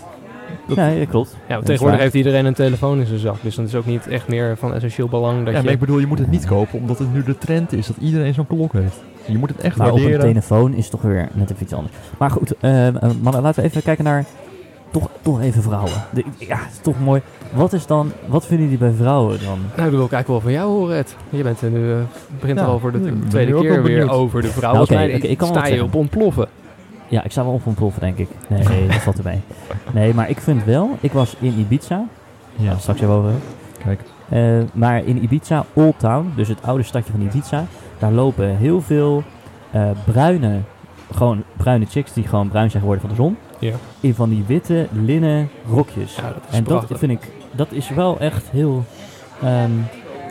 Dat-
Nee, dat klopt.
Ja, want
Dat is
tegenwoordig
waar.
heeft iedereen een telefoon in zijn zak. Dus dan is het ook niet echt meer van essentieel belang dat
Ja, maar
je...
ik bedoel, je moet het niet kopen omdat het nu de trend is. Dat iedereen zo'n klok heeft. Je moet het echt
Maar op een
waarderen.
telefoon is toch weer net even iets anders. Maar goed, eh, eh, mannen, laten we even kijken naar... Toch, toch even vrouwen. De- ja, het is toch mooi. Wat is dan... Wat vinden jullie bij vrouwen dan?
Nou, dat wil ik eigenlijk wel van jou horen, Ed. Je bent er nu, eh, begint
Ja,
er al voor de
ik ben
tweede
nu ook
keer
wel
weer
benieuwd.
over de vrouw.
Nou,
Volgens
oké,
mij
oké, ik kan wel
sta
wat
je op
zeggen.
ontploffen.
Ja, ik sta wel op een ploffen, denk ik. Nee, dat valt erbij. Nee, maar ik vind wel... Ik was in Ibiza. Ja,
Ja,
Nou, straks even over.
kijk.
Eh, maar in Ibiza, Old Town, dus het oude stadje van Ibiza, daar lopen heel veel eh, bruine, gewoon bruine chicks die gewoon bruin zijn geworden van de zon.
Ja.
In van die witte linnen rokjes.
Ja, dat is
en dat
prachtig.
vind ik, dat is wel echt heel ehm,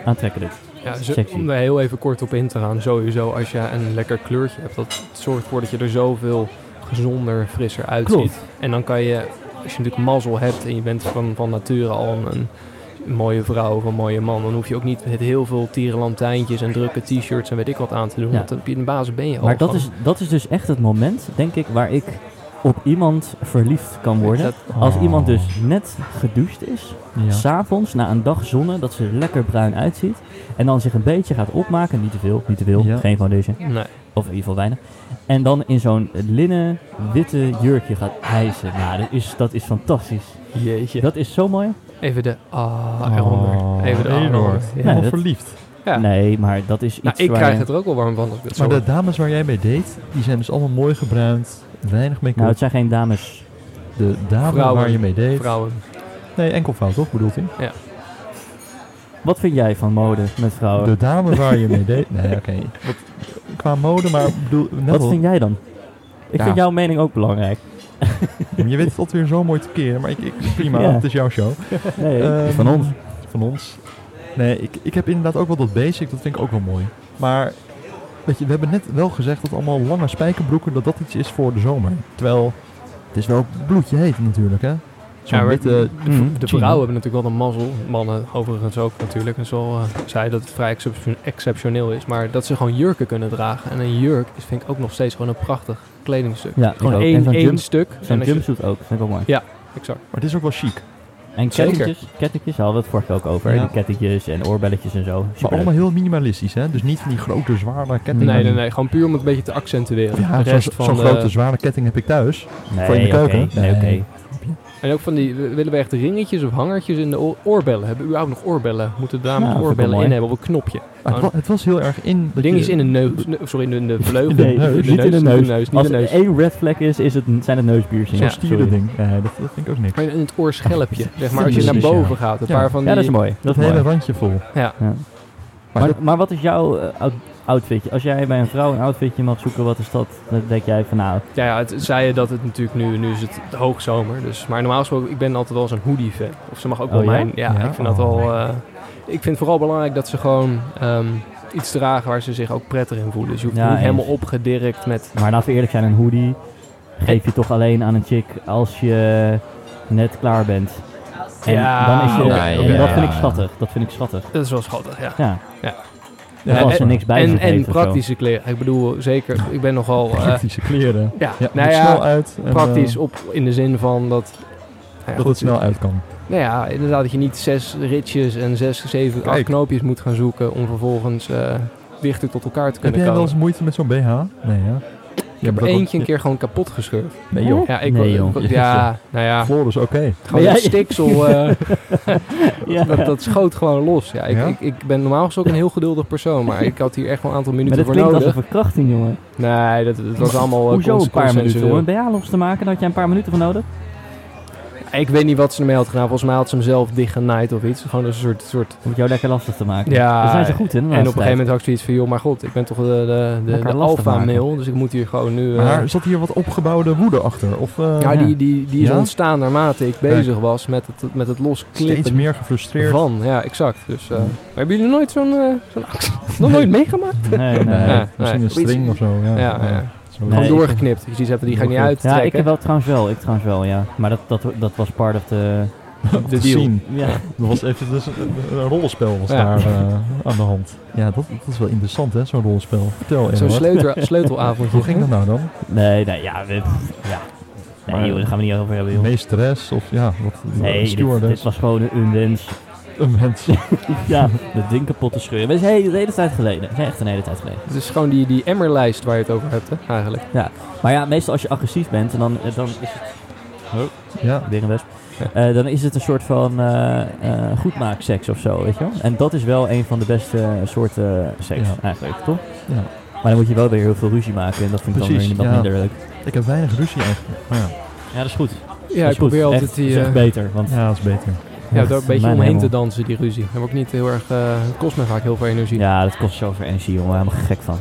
aantrekkelijk.
Ja, zo-
Sexy.
om daar heel even kort op in te gaan. Sowieso, als je een lekker kleurtje hebt, dat zorgt ervoor dat je er zoveel gezonder, frisser uitziet.
Klopt.
En dan kan je, als je natuurlijk mazzel hebt en je bent van, van nature al een, een mooie vrouw of een mooie man, dan hoef je ook niet met heel veel tierenlantijntjes en drukke t-shirts en weet ik wat aan te doen.
Ja.
Want op je- in de basis ben je al.
Maar dat
gewoon-
is, dat is dus echt het moment, denk ik, waar ik op iemand verliefd kan worden.
Dat-
Als
Oh.
iemand dus net gedoucht is,
Ja.
S'avonds, na een dag zonnen, dat ze lekker bruin uitziet. En dan zich een beetje gaat opmaken. Niet te veel, niet te veel.
Ja.
Geen foundation.
nee.
Of in ieder geval weinig. En dan in zo'n linnen, witte jurkje gaat hijsen. Nou, dat is, dat is fantastisch.
Jeetje.
Dat is zo mooi.
Even de ah
Oh,
eronder. Even de ah
Eduard.
eronder. Ja.
Helemaal
dat-
Oh. Nou, verliefd.
Ja.
Nee, maar dat is iets
Nou, ik
waar...
krijg het er ook wel warm van als ik het zo
Maar de
hoor.
dames waar jij mee deed, die zijn dus allemaal mooi gebruind. Weinig make-up.
Nou, het zijn geen dames.
de dame
Vrouwen.
waar je mee deed.
Vrouwen.
Nee, enkelvoud toch bedoelt hij?
Wat vind jij van mode met vrouwen?
De dame waar je mee deed. Nee, oké. Wat- Qua mode, maar bedoel, net
Wat
al-
vind jij dan? Ik
Ja.
vind jouw mening ook
<laughs>
belangrijk.
je weet het altijd weer zo mooi te keren, maar ik, ik, prima,
Ja.
het is jouw show.
Nee,
Eh,
Ehm,
van ons.
Van ons. Nee, ik, ik heb inderdaad ook wel dat basic, dat vind ik ook wel mooi. Maar, weet je, we hebben net wel gezegd dat allemaal lange spijkerbroeken, dat dat iets is voor de zomer. Terwijl, het is wel bloedje heet natuurlijk, hè? Zo'n
Ja, maar-
witte...
Mm.
De
Jean.
vrouwen hebben natuurlijk wel een mazzel. Mannen overigens ook natuurlijk. En zo zei dat het vrij excep- exceptioneel is. Maar dat ze gewoon jurken kunnen dragen. En een jurk is, vind ik ook nog steeds gewoon een prachtig kledingstuk.
Ja, ik
Gewoon
ook.
één,
en zo'n
één
jump-
stuk.
zo'n
en als je-
jumpsuit ook, vind ik ook mooi.
Exact.
Maar het is ook wel chic.
En
Zeker.
kettingjes, kettingjes hadden we het vorige keer ook over.
Ja.
Die kettingjes en oorbelletjes en zo.
Maar
Superleuk.
allemaal heel minimalistisch, hè? Dus niet van die grote, zware
Mm-hmm.
kettingen.
Nee, nee, nee. Gewoon puur om het een beetje te accentueren.
Ja,
Mm. de
zo'n
rest
zo'n
van eh, de-
grote, zware ketting heb ik thuis.
nee,
voor in de
oké,
keuken.
nee, oké.
Nee.
En ook van die, willen we echt ringetjes of hangertjes in de oor- oorbellen? Hebben we überhaupt nog oorbellen? Moeten de dames
Ja, vind ik wel
oorbellen
mooi.
in hebben op een knopje?
Maar het, wa- het was heel erg in... dat
Ding
je-
is in de neus, ne- sorry, in de, in de vleugel.
Nee, niet in de neus.
niet
Als
in de
er
neus.
één red flag is, is het, zijn het neusbiertjes.
Zo'n
Ja, sorry.
stierending. Nee, dat, dat vind ik ook
e-
niks.
Maar in het oorschelpje, zeg maar, als je
Precies,
naar boven
ja.
gaat. Een
Ja.
paar van die...
Ja, dat is mooi. Dat
Dat
is mooi.
hele randje vol.
Ja.
Ja. Maar, maar, wat is jouw eh, out- outfitje? Als jij bij een vrouw een outfitje mag zoeken, wat is dat? Dan denk jij van nou,
Ja, ja, het zei je dat het natuurlijk nu, nu is het hoogzomer. Dus, maar normaal gesproken, ik ben altijd wel eens een hoodie-fan. Of ze mag ook wel
Oh, ja?
mijn... Ja,
Ja?
ik vind dat
Oh.
wel... eh, ik vind het vooral belangrijk dat ze gewoon ehm, iets dragen waar ze zich ook prettig in voelen. Dus je hoeft
Ja,
niet
eens.
helemaal opgedirkt met...
maar laten we eerlijk zijn, een hoodie geef je toch alleen aan een chick als je net klaar bent. En
Ja,
dan is je,
oké,
en
oké.
dat vind ik
Ja.
schattig. Dat vind ik schattig.
Dat is wel schattig, ja.
Ja.
Ja.
Er
Ja,
was er niks bij
En,
vergeten
en
of zo.
praktische kleren. Ik bedoel, zeker, ik ben
<laughs>
nogal... eh,
Praktische kleren.
ja,
Ja,
nou
het
ja,
snel uit. en, eh,
praktisch op, in de zin van dat... nou ja,
dat
goed,
het snel uit kan.
Nou ja, inderdaad, dat je niet zes ritjes en zes, zeven, acht
Kijk.
knoopjes moet gaan zoeken om vervolgens eh, dichter tot elkaar te
Heb
kunnen
jij wel
komen.
eens moeite met zo'n BH? Nee, ja. Oh. Je hebt
Ik heb eentje een keer gewoon kapot gescheurd.
Nee, joh.
Ja, ik
Nee, joh.
ik- ja, nou ja,
Floris, oké.
gewoon
Maar
het
jij-
<laughs>
stiksel, eh,
Ja.
dat, dat schoot gewoon los. Ja, ik,
Ja?
Ik, ik ben normaal gesproken een heel geduldig persoon, maar ik had hier echt wel een aantal
maar
minuten
dit
voor
klinkt als een
nodig.
verkrachting, jongen.
Nee, dat, dat was allemaal eh,
Hoezo
cons-
een paar minuten?
consensueel.
Om een BH los te maken, daar had jij een paar minuten voor nodig?
Ik weet niet wat ze ermee had gedaan. Volgens mij had ze hem zelf dichtgenaaid of iets. Gewoon een soort, soort
Om het jou lekker lastig te maken.
Ja,
Daar zijn ze goed in. de
Ah, En op een
laatste
gegeven moment had ik zoiets van, joh, maar god, ik ben toch de, de, de,
Elkaar
de
lastig
alpha
maken.
mail, dus ik moet hier gewoon nu... eh,
Maar zat hier wat opgebouwde woede achter? Of eh,
ja,
ja.
die, die, die is
Ja?
ontstaan naarmate ik
Kijk.
bezig was met het, met het
steeds
losklippen
meer gefrustreerd?
van. Ja, exact. Dus, eh, maar hebben jullie nooit zo'n eh, zo'n actie? <laughs> Nog nooit meegemaakt?
Nee,
Nee,
nee.
Ja,
misschien
nee.
een string of zo. Ja,
Ja, ja.
Zo.
Nee.
<laughs>
Gewoon doorgeknipt. Je ziet even, die ga ik niet <laughs> uit
Ja, ik heb wel trouwens wel. Ik trouwens wel, ja. Maar dat, dat, dat was part of the...
de
Te
deal.
zien.
<laughs>
Ja.
Er was even dus een, een- een rollenspel was
Ja.
daar eh, aan de hand. Ja, dat, dat is wel interessant, hè, zo'n rollenspel. Vertel,
Zo'n
Eduard.
sleutel, sleutelavondje.
Hoe ging dat nou dan?
Nee, nee, ja. we- ja. Nee,
Maar-
joh, daar gaan we niet over hebben, joh.
Meesteres of ja, wat?
Nee, dit,
dus.
dit
stewardess?
was gewoon een wens.
Een <laughs> mens.
<laughs> Ja, dat ding kapot te scheuren. Dat is een hele, hele tijd geleden. Dat is echt een hele tijd geleden.
Het is gewoon die, die emmerlijst waar je het over hebt, hè, eigenlijk.
Maar ja, meestal als je agressief bent, en dan, eh, dan is het
Ja,
Weer een wesp. Eh, dan is het een soort van eh, eh, goedmaakseks of zo, weet je wel. En dat is wel een van de beste eh, soorten seks
Ja.
eigenlijk, toch?
Ja.
Maar dan moet je wel weer heel veel ruzie maken en dat vind ik
Precies,
dan weer
ja.
wat minder leuk.
ik heb weinig ruzie eigenlijk. Maar ja,
Ja, dat is goed.
Ja, ik probeer altijd die...
is echt
eh,
beter, want...
ja, dat is beter.
ja,
echt
daar een beetje
mijn
omheen te
hemel.
dansen, die ruzie. Daar word ik niet heel erg... eh, het kost me vaak heel veel energie.
Ja, dat kost zoveel energie, jongen. Helemaal gek van.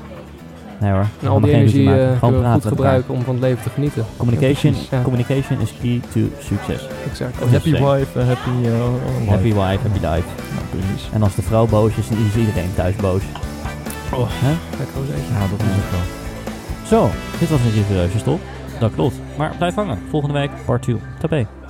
Nee hoor.
En
Helemaal
al die
geen ruzie
energie
maken.
eh,
Gewoon
kunnen we
praten
goed
met elkaar.
gebruiken om van het leven te genieten.
Communication,
Ja, precies, ja.
communication is key to succes.
Exact.
Dat is
happy
zeker.
wife, eh, happy eh, life.
Happy wife, happy life.
Nou, precies.
En als de vrouw boos is, dan is iedereen thuis boos.
Oh.
Hè?
Lekker hoor, zeker.
Ja, dat is het wel.
Zo, dit was een serieuze stop. Dat klopt. Maar blijf hangen. Volgende week part 2. Tabé.